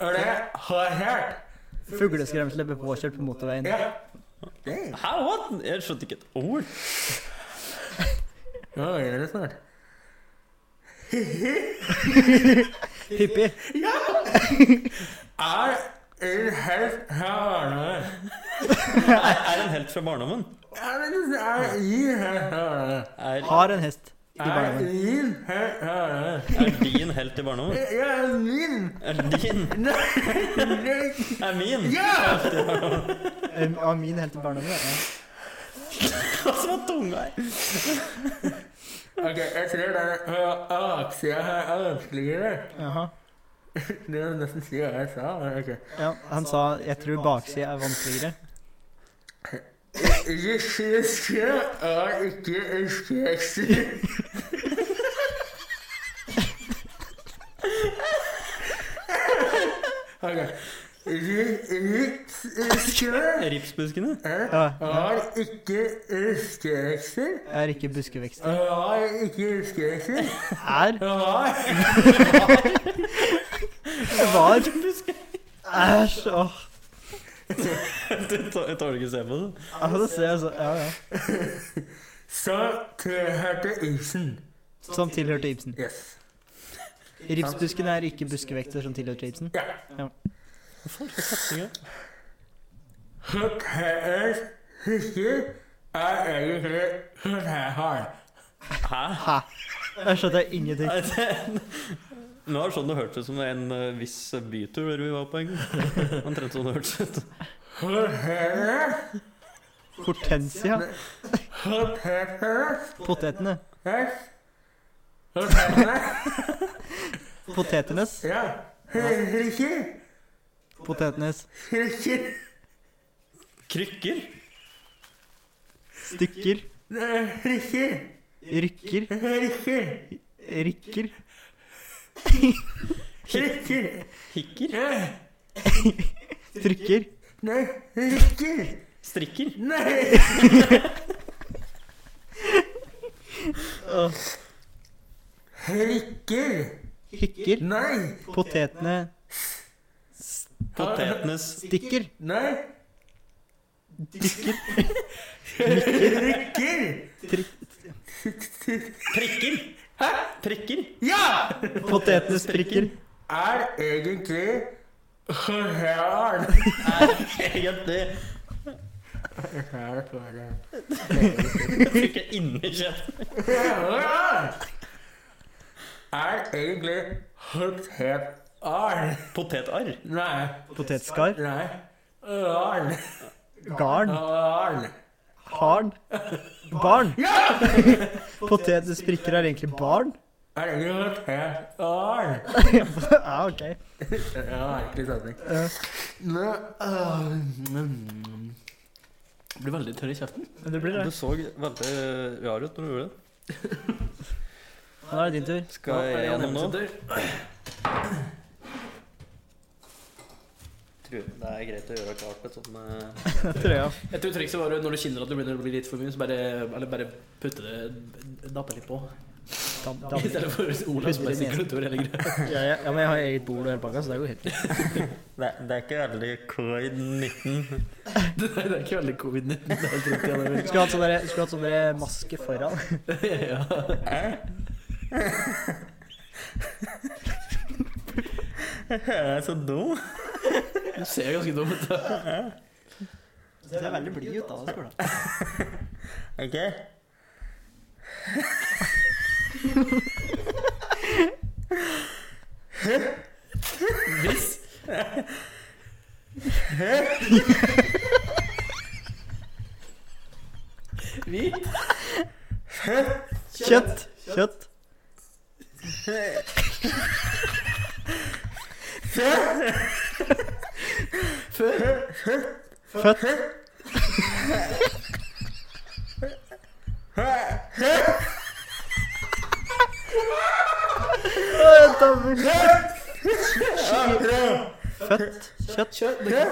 Speaker 5: Når det har her,
Speaker 3: Fugleskremselet ble påkjørt på motorveien.
Speaker 5: ja.
Speaker 2: Hæ, what? Jeg skjønte ikke et ord.
Speaker 5: Nå er det snart.
Speaker 3: Pippi.
Speaker 5: Er en helt herlig.
Speaker 2: Er, er en helt fra barndommen. Er,
Speaker 3: Har en hest i barnehagen.
Speaker 2: er din helt i barndommen? Er din? Er min?
Speaker 3: Um, Av min helt i barnehagen. Ja.
Speaker 2: Hva som var tunga her?
Speaker 5: Ok, jeg tror det er øh, Aksja her er vanskeligere.
Speaker 3: Jaha.
Speaker 5: Det er nesten si hva jeg sa. men ok.
Speaker 3: Ja, han sa 'jeg tror baksida er vanskeligere'.
Speaker 5: Russiske er ikke russiske. Ok. Russiske
Speaker 2: Ripsbuskene?
Speaker 3: Ja,
Speaker 5: er ikke russiske.
Speaker 3: er ikke buskevekster.
Speaker 5: Er ikke russiske.
Speaker 3: Er
Speaker 5: Er
Speaker 3: var Æsj. Åh.
Speaker 2: Du tå- jeg tåler ikke å se på det.
Speaker 3: Ja, Altså, det ser jeg så Ja, ja.
Speaker 5: så tilhørte isen.
Speaker 3: Som tilhørte Ibsen.
Speaker 5: Yes.
Speaker 3: Ripsbusken er ikke buskevekter som tilhørte Ibsen.
Speaker 2: Hva faen for setning er det?
Speaker 5: Hotellet husker er egentlig hotellhall.
Speaker 2: Hæ?
Speaker 3: Hæ? Jeg skjønte ingenting.
Speaker 2: Nei, det- Nå er det sånn det hørtes ut som en eh, viss bytur der vi var på en gang. Omtrent sånn det hørtes ut.
Speaker 5: Hotellet
Speaker 3: Hortensia.
Speaker 5: Hotellet
Speaker 3: Potetene.
Speaker 5: Yes. Hotellet
Speaker 3: Potetenes.
Speaker 5: Ja. Husker.
Speaker 3: Potetenes.
Speaker 5: Husker.
Speaker 2: Krykker?
Speaker 3: Stykker.
Speaker 5: Husker.
Speaker 3: Rykker.
Speaker 5: Husker.
Speaker 3: Rykker.
Speaker 5: Husker.
Speaker 2: Hikker?
Speaker 5: Nei.
Speaker 3: Trykker.
Speaker 5: Nei. Husker.
Speaker 2: Strikker?
Speaker 5: Nei. Husker.
Speaker 3: Hikker.
Speaker 5: Nei.
Speaker 3: Potetene.
Speaker 2: Potetenes
Speaker 3: Stikker.
Speaker 5: Nei.
Speaker 3: Dykker.
Speaker 5: Husker.
Speaker 2: Prikker? Hæ? Prikker?
Speaker 5: Ja!
Speaker 3: Potetene sprikker.
Speaker 5: er egentlig høren.
Speaker 2: Egentlig ikke inni kjeften.
Speaker 5: Er egentlig høren.
Speaker 2: Potetarr?
Speaker 5: Nei,
Speaker 3: Potetskar.
Speaker 5: nei. Ørn.
Speaker 3: Garn.
Speaker 5: Ørn.
Speaker 3: Harn. Barn.
Speaker 5: Ja!
Speaker 3: Potetene sprikker er egentlig barn.
Speaker 5: Er egentlig høren.
Speaker 3: Ja, ok.
Speaker 5: Ja, egentlig sanning.
Speaker 3: Ja.
Speaker 5: Nå, øh, mm.
Speaker 1: Blir veldig tørr i kjeften.
Speaker 3: Men det blir
Speaker 2: Du
Speaker 3: det.
Speaker 2: så veldig rar ut når du gjorde det.
Speaker 3: Nå er det din tur.
Speaker 2: Skal jeg gjennom nå? Tror det er greit å gjøre klart et sånt eh,
Speaker 3: Trøya.
Speaker 1: Jeg tror trikset var å- når du kjenner at du begynner å bli litt for mye, så bare, eller bare putte det Dappe litt på.
Speaker 3: Dam, dam.
Speaker 1: I stedet for Olav som bare stikker utover hele greia.
Speaker 3: Ja, ja, ja, men jeg har eget bord og hele pakka, så det går helt fint.
Speaker 2: det, er- det er ikke veldig covid-19.
Speaker 1: Det er det er ikke veldig covid-19. det er helt riktig, ja, det
Speaker 3: Skulle hatt sånn derre- skulle hatt sånn derre maske foran.
Speaker 1: er- Ja.
Speaker 2: Jeg er så dum.
Speaker 1: Du ser jo ganske dum ut. da.
Speaker 3: Det ser veldig blid ut, da. Skola.
Speaker 2: Ok?
Speaker 1: Hvis Vi
Speaker 3: Kjøtt. Kjøtt. Født. Født. Kjøtt.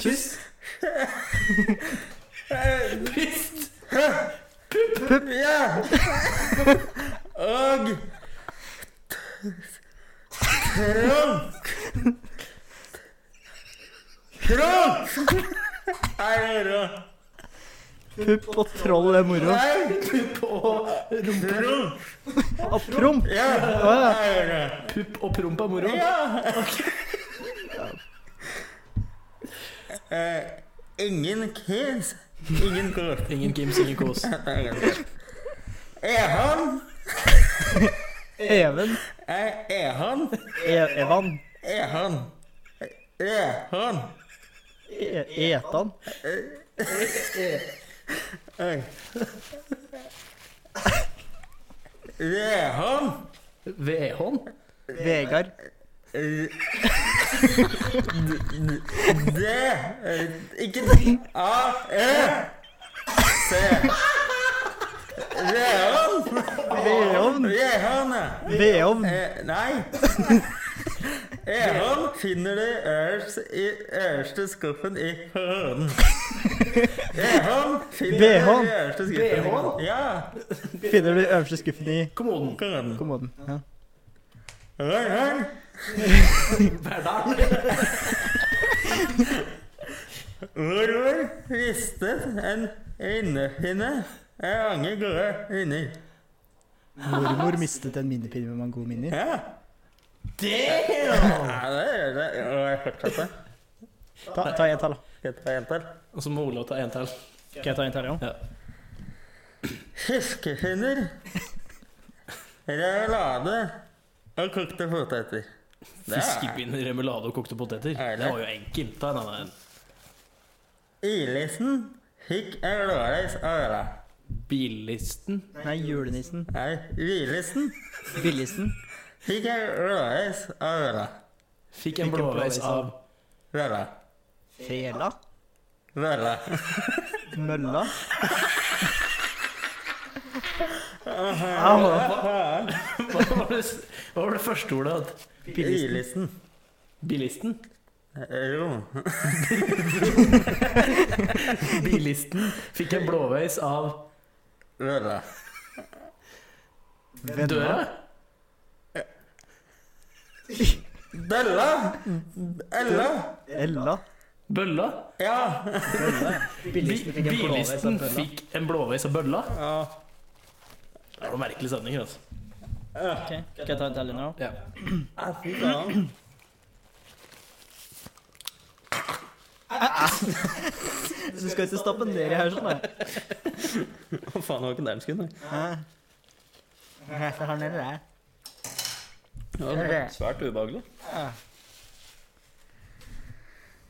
Speaker 1: Kyss. Pist.
Speaker 5: Ja! Og Kronk! Kronk! Er det rå?
Speaker 3: Pupp og troll er moro.
Speaker 5: Nei,
Speaker 1: Pupp og rumpe.
Speaker 5: kronk!
Speaker 3: Og promp.
Speaker 5: Ja,
Speaker 3: Å, Ah, ja.
Speaker 5: er det
Speaker 1: Pupp og promp er moro.
Speaker 5: Ja! eh, ingen kids. Ingen kos.
Speaker 1: Ingen Kims, ingen kos.
Speaker 5: Ehan.
Speaker 3: Even.
Speaker 5: Eh, Ehan.
Speaker 3: E Evan.
Speaker 5: Ehan. Ehan.
Speaker 3: E Etan.
Speaker 5: Ehan.
Speaker 1: Vedhånd?
Speaker 3: Vegard.
Speaker 5: Eh, d- d- Det eh, Ikke det. A-E. C. Rehan.
Speaker 3: Veovn.
Speaker 5: Rehan, ja.
Speaker 3: Veovn.
Speaker 5: Eh, nei. Ehan finner du øverst i øverste skuffen i hønen. Ehan finner du
Speaker 3: Behånd.
Speaker 5: i øverste skuffen
Speaker 1: Behånd?
Speaker 5: Ja.
Speaker 3: Finner du i øverste skuffen i
Speaker 1: Kommoden.
Speaker 5: Hønen.
Speaker 3: kommoden. Ja.
Speaker 5: Høn, høn.
Speaker 1: Verdal.
Speaker 5: Hvorfor ristet en innefinne er mange gode vinner?
Speaker 3: Mormor mistet en minnepinne med mange gode minner.
Speaker 5: Ja.
Speaker 1: Damn!
Speaker 5: ja, det er det. Og jeg fortsatte.
Speaker 3: Ta, ta en til, da.
Speaker 5: Skal jeg ta en til?
Speaker 1: Og så må Olav ta en til.
Speaker 3: Skal jeg ta en til, ja?
Speaker 5: Fiskefinner, revelade og kokte poteter. Det er
Speaker 1: Fiskepinner, remulade og kokte poteter.
Speaker 5: Er det?
Speaker 1: Det var jo enkelt. Ta en annen.
Speaker 5: Ilisen fikk en blåreis av øla.
Speaker 1: Billisten.
Speaker 3: Nei, julenissen.
Speaker 5: Nei, Vilesen
Speaker 3: Billisen.
Speaker 5: fikk en blåreis av øla.
Speaker 1: Fikk en blåveis av
Speaker 5: Vella.
Speaker 3: Fela.
Speaker 5: Vella.
Speaker 3: Mølla. Au.
Speaker 1: Hva var det, hva var det første ordet? at-
Speaker 5: Ilisen.
Speaker 1: Bilisten?
Speaker 5: Rom.
Speaker 1: Bilisten fikk en blåveis av
Speaker 5: Vella.
Speaker 3: Venner.
Speaker 1: døra?
Speaker 5: Della. Ella.
Speaker 3: Ella.
Speaker 1: Bølla?
Speaker 5: Ja.
Speaker 1: Bi- Bilisten fikk en blåveis av bølla?
Speaker 5: ja.
Speaker 1: Det var noen merkelige setninger, altså.
Speaker 3: Skal jeg ta en til nå?
Speaker 1: Ja.
Speaker 5: Ja, Fy faen.
Speaker 3: Du skal ikke stappe ned i her sånn, da.
Speaker 2: Hva faen, det var ikke der den skulle? da. Det var svært ubehagelig.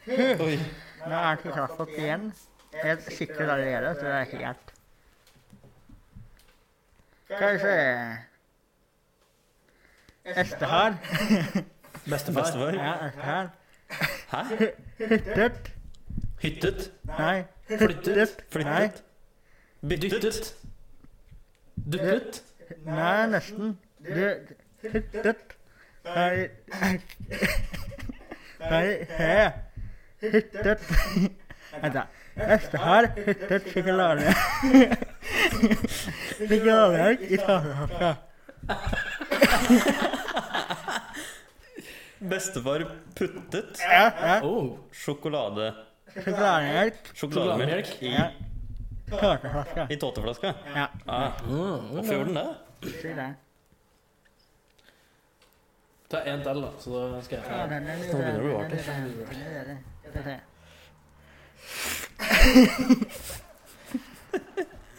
Speaker 2: Oi.
Speaker 3: Nå er det kaffe igjen. Helt sikkert allerede, så det er helt
Speaker 5: Kanskje.
Speaker 3: Estehar.
Speaker 1: Bestefar.
Speaker 2: Bestefar.
Speaker 3: Ja, Estehar.
Speaker 2: Hæ?
Speaker 3: Hyttet.
Speaker 2: Hyttet?
Speaker 3: Nei.
Speaker 1: Flyttet?
Speaker 2: Flyttet? Byttet?
Speaker 1: Dyttet? Duppet?
Speaker 3: Nei, nesten. Du Hyttet. Nei Nei, he. Hyttet. Vent, da. Estehar hyttet sjokolade. Sjokolademelk i tannhaka.
Speaker 2: Bestefar puttet
Speaker 3: Ja, ja.
Speaker 1: Oh,
Speaker 2: sjokolade...
Speaker 3: Sjokolademelk
Speaker 1: sjokolademelk.
Speaker 2: Sjokolademelk i,
Speaker 3: Ja. kakeflaske.
Speaker 2: i tåteflaska?
Speaker 3: Ja.
Speaker 2: Ah,
Speaker 1: oh,
Speaker 2: hvorfor gjorde den det?
Speaker 3: sier det.
Speaker 1: Ta en til, da, så da skal jeg ta
Speaker 3: Ja,
Speaker 1: en.
Speaker 3: den er litt-
Speaker 2: Nå begynner det å bli rart,
Speaker 3: Skal vi se.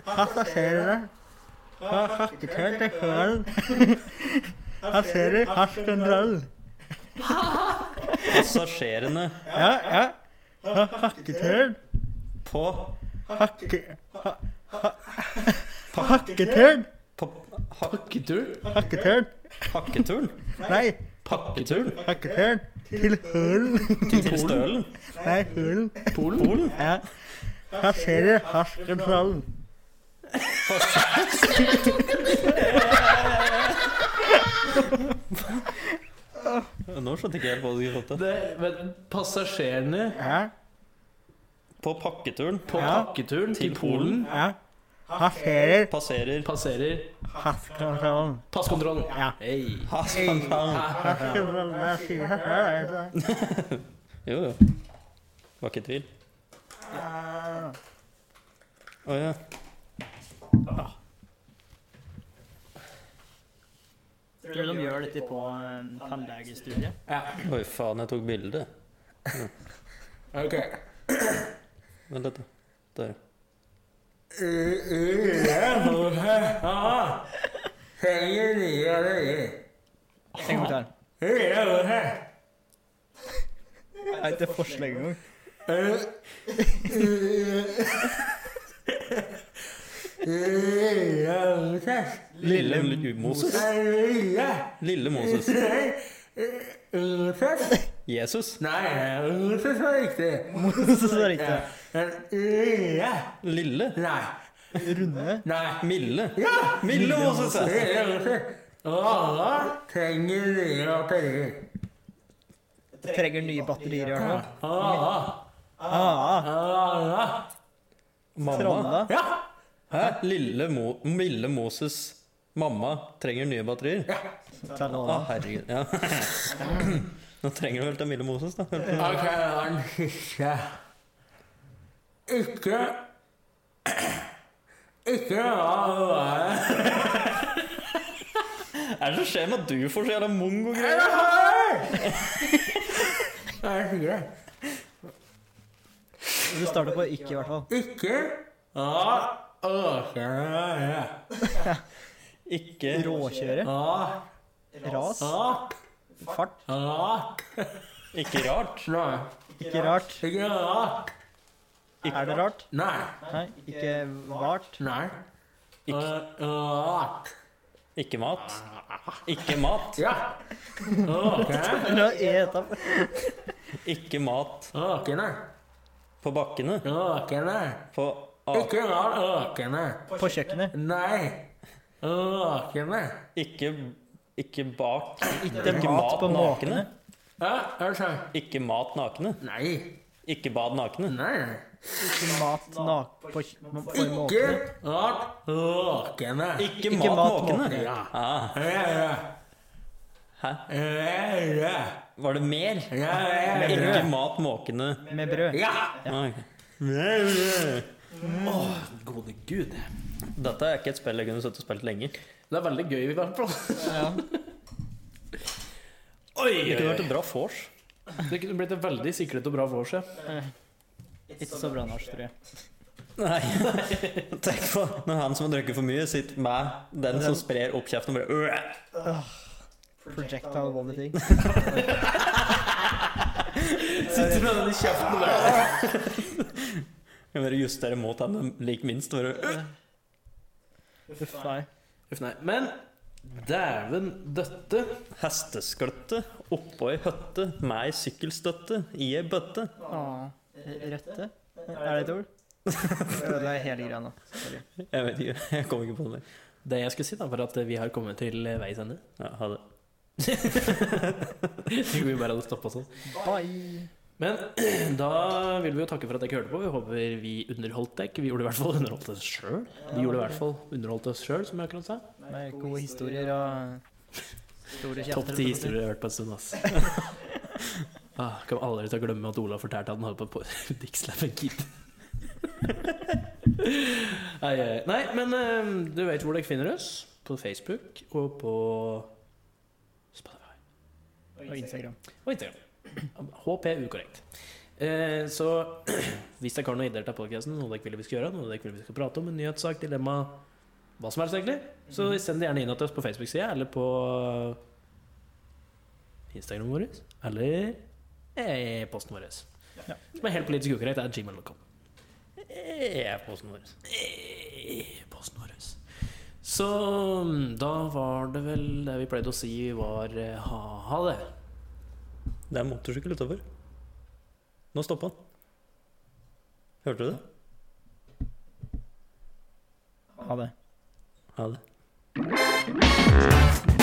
Speaker 3: Passasjerer har hakketøy til kvelden. Passerer haskendrall.
Speaker 2: Passasjerene
Speaker 3: Ja, ja. Har hakketøy.
Speaker 2: på
Speaker 3: Hakke... ha- ha- Hakketøy.
Speaker 2: På ha,
Speaker 1: Pakketur?
Speaker 3: Hakketøy.
Speaker 2: hakketuren?
Speaker 3: Nei,
Speaker 2: Pakketuren?
Speaker 3: hakketøy. Til hølen.
Speaker 2: Til, til stølen?
Speaker 3: Nei, hølen.
Speaker 1: Polen?
Speaker 2: Polen?
Speaker 3: Ja. Passerer haskendrallen.
Speaker 2: Nå skjønte ikke jeg helt hva du skulle fått til.
Speaker 1: Det, men, passasjerene
Speaker 3: Ja,
Speaker 2: På pakketuren
Speaker 1: på
Speaker 3: Ja.
Speaker 1: pakketuren til
Speaker 2: Til
Speaker 1: Polen
Speaker 2: Polen.
Speaker 3: ja. Passerer
Speaker 2: passerer
Speaker 1: passerer
Speaker 3: Haskendrallen.
Speaker 1: passkontrollen.
Speaker 3: Ja.
Speaker 1: Hei.
Speaker 2: Hasselhamn.
Speaker 3: Haskendrallen.
Speaker 2: Jo, jo. Var ikke i tvil. Å ja.
Speaker 3: Tror du de gjør dette på eh, tannlegestudiet?
Speaker 2: Oi, faen, jeg tok bilde.
Speaker 5: Ok.
Speaker 2: Vent litt, da. Der.
Speaker 5: Ừ,
Speaker 3: En gang til. Nei, det er forslag engang.
Speaker 5: ừ, Ừ,
Speaker 2: Lille Lille Moses. Lille Moses.
Speaker 5: ừ,
Speaker 2: Jesus.
Speaker 5: Nei, Moses var riktig.
Speaker 3: Så det er riktig.
Speaker 5: Ờ, ừ,
Speaker 2: Lille.
Speaker 5: Nei.
Speaker 3: Runde.
Speaker 5: Nei.
Speaker 2: Mille. Mille Moses. ja.
Speaker 5: Alle trenger nye batterier.
Speaker 3: Jeg trenger nye batterier i hvert fall.
Speaker 5: Alle.
Speaker 3: Ah,
Speaker 5: Alle.
Speaker 2: Mamma.
Speaker 3: Tranda.
Speaker 5: Ja.
Speaker 2: Hæ? Lille Mo Mille Moses. Mamma trenger nye batterier. Å,
Speaker 3: Tralala.
Speaker 2: herregud. Ja. Nå trenger du vel til Mille Moses, da.
Speaker 5: Ok, jeg har en siste. Ikke Ikke la være
Speaker 2: Hva er det som skjer med at du får så jævla mongo-greier?
Speaker 5: Eller hør! Det er sikkert.
Speaker 3: Du starter på ikke, i hvert fall.
Speaker 5: Ikke la åkere
Speaker 2: Ikke
Speaker 3: Råkjøre. Ah.
Speaker 5: La
Speaker 3: Ras. Fart.
Speaker 5: la
Speaker 2: Ikke rart.
Speaker 5: Nei.
Speaker 3: Ikke rart.
Speaker 5: Ikke la
Speaker 3: Er det rart?
Speaker 5: Nei.
Speaker 3: Nei. Ikke vart.
Speaker 5: Nei. Eh,
Speaker 2: Ikke,
Speaker 5: La
Speaker 2: ikke mat. Ikke mat.
Speaker 5: Ja. Åkere.
Speaker 3: Eller hva er dette?
Speaker 2: Ikke mat
Speaker 5: Åkene.
Speaker 2: på bakkene.
Speaker 5: Åkene.
Speaker 2: På a
Speaker 5: Ikke la åkene.
Speaker 3: På kjøkkenet.
Speaker 5: Nei. Åkene.
Speaker 2: Ikke, ikke bak
Speaker 3: Ikke mat på måkene.
Speaker 5: Ja, altså.
Speaker 2: Ikke mat nakne.
Speaker 5: Nei.
Speaker 2: Ikke bad nakne.
Speaker 5: Nei.
Speaker 3: Ikke mat nak... På, kj- på
Speaker 5: Ikke
Speaker 3: måkene.
Speaker 5: la åkene.
Speaker 2: Ikke,
Speaker 3: Ikke
Speaker 2: mat,
Speaker 3: mat
Speaker 2: måkene.
Speaker 5: Ja.
Speaker 2: Ah,
Speaker 5: Røre.
Speaker 2: hæ?
Speaker 5: Røre.
Speaker 2: Var det mer?
Speaker 5: Røre.
Speaker 2: Ikke mat måkene.
Speaker 3: Med brød.
Speaker 5: Ja.
Speaker 2: Ah, ok.
Speaker 1: Gode gud. Det
Speaker 2: Dette er ikke et spill jeg kunne sittet og spilt lenge.
Speaker 1: er veldig gøy, i hvert fall.
Speaker 3: Ja.
Speaker 1: Oi, oi,
Speaker 2: Det kunne vært
Speaker 1: oi.
Speaker 2: et bra vors.
Speaker 1: Det kunne blitt et veldig siklet og bra vors, ja.
Speaker 3: Eh, Ikke så bra norsk, tror jeg.
Speaker 2: Nei. Tenk på når han som har drukket for mye, sitter med den som sprer opp kjeften og bare øh.
Speaker 3: Projectile vomiting.
Speaker 1: Sitter med den i kjeften der.
Speaker 2: Jeg bare justerer mot han den liker minst. og Bare, øh.
Speaker 3: Uff, nei.
Speaker 1: Uff, nei. Men dæven døtte.
Speaker 2: Hesteskløtte oppå ei høtte med ei sykkelstøtte i ei bøtte.
Speaker 3: Ah. Røtte? Er det et ord? Jeg Ødela hele greia nå. Sorry.
Speaker 2: Jeg vet ikke, jeg kom ikke på det.
Speaker 1: Det jeg skulle si, da, var at vi har kommet til veis ende.
Speaker 2: Ja, ha det.
Speaker 1: Tenk om vi bare hadde stoppa sånn.
Speaker 3: Bye.
Speaker 1: Men da vil vi jo takke for at dere hørte på. Vi håper vi underholdt dere. Vi gjorde i hvert fall underholdt oss sjøl. Vi gjorde i hvert fall underholdt oss sjøl, som jeg akkurat sa.
Speaker 3: Med gode historier og store kjefter.
Speaker 1: Topp ti historier jeg har hørt på en stund, ass. Ah, kan aldri ta glemme at Ola fortalte at han holdt på på Dixlaven Kid. Ai, ai. Nei, men eh, du vet hvor dere finner oss. På Facebook og på Spotify.
Speaker 3: Og Instagram.
Speaker 1: Og Instagram. HP ukorrekt. Eh, så hvis dere har noe ideer til podkasten, noe dere vil vi skal gjøre, noe dere vil vi skal prate om, en nyhetssak, dilemma, hva som helst egentlig, så send det gjerne inn til oss på Facebook-sida eller på Instagram vår, eller e-posten vår.
Speaker 3: Ja.
Speaker 1: Som er helt politisk ukorrekt, er gmail.com.
Speaker 2: E-posten vår.
Speaker 1: E-posten Eh, vår. Så da var det vel det vi pleide å si, var eh, ha, ha det.
Speaker 2: Det er motorsykkel utover. Nå stoppa han. Hørte du det?
Speaker 3: Ha det.
Speaker 2: Ha det.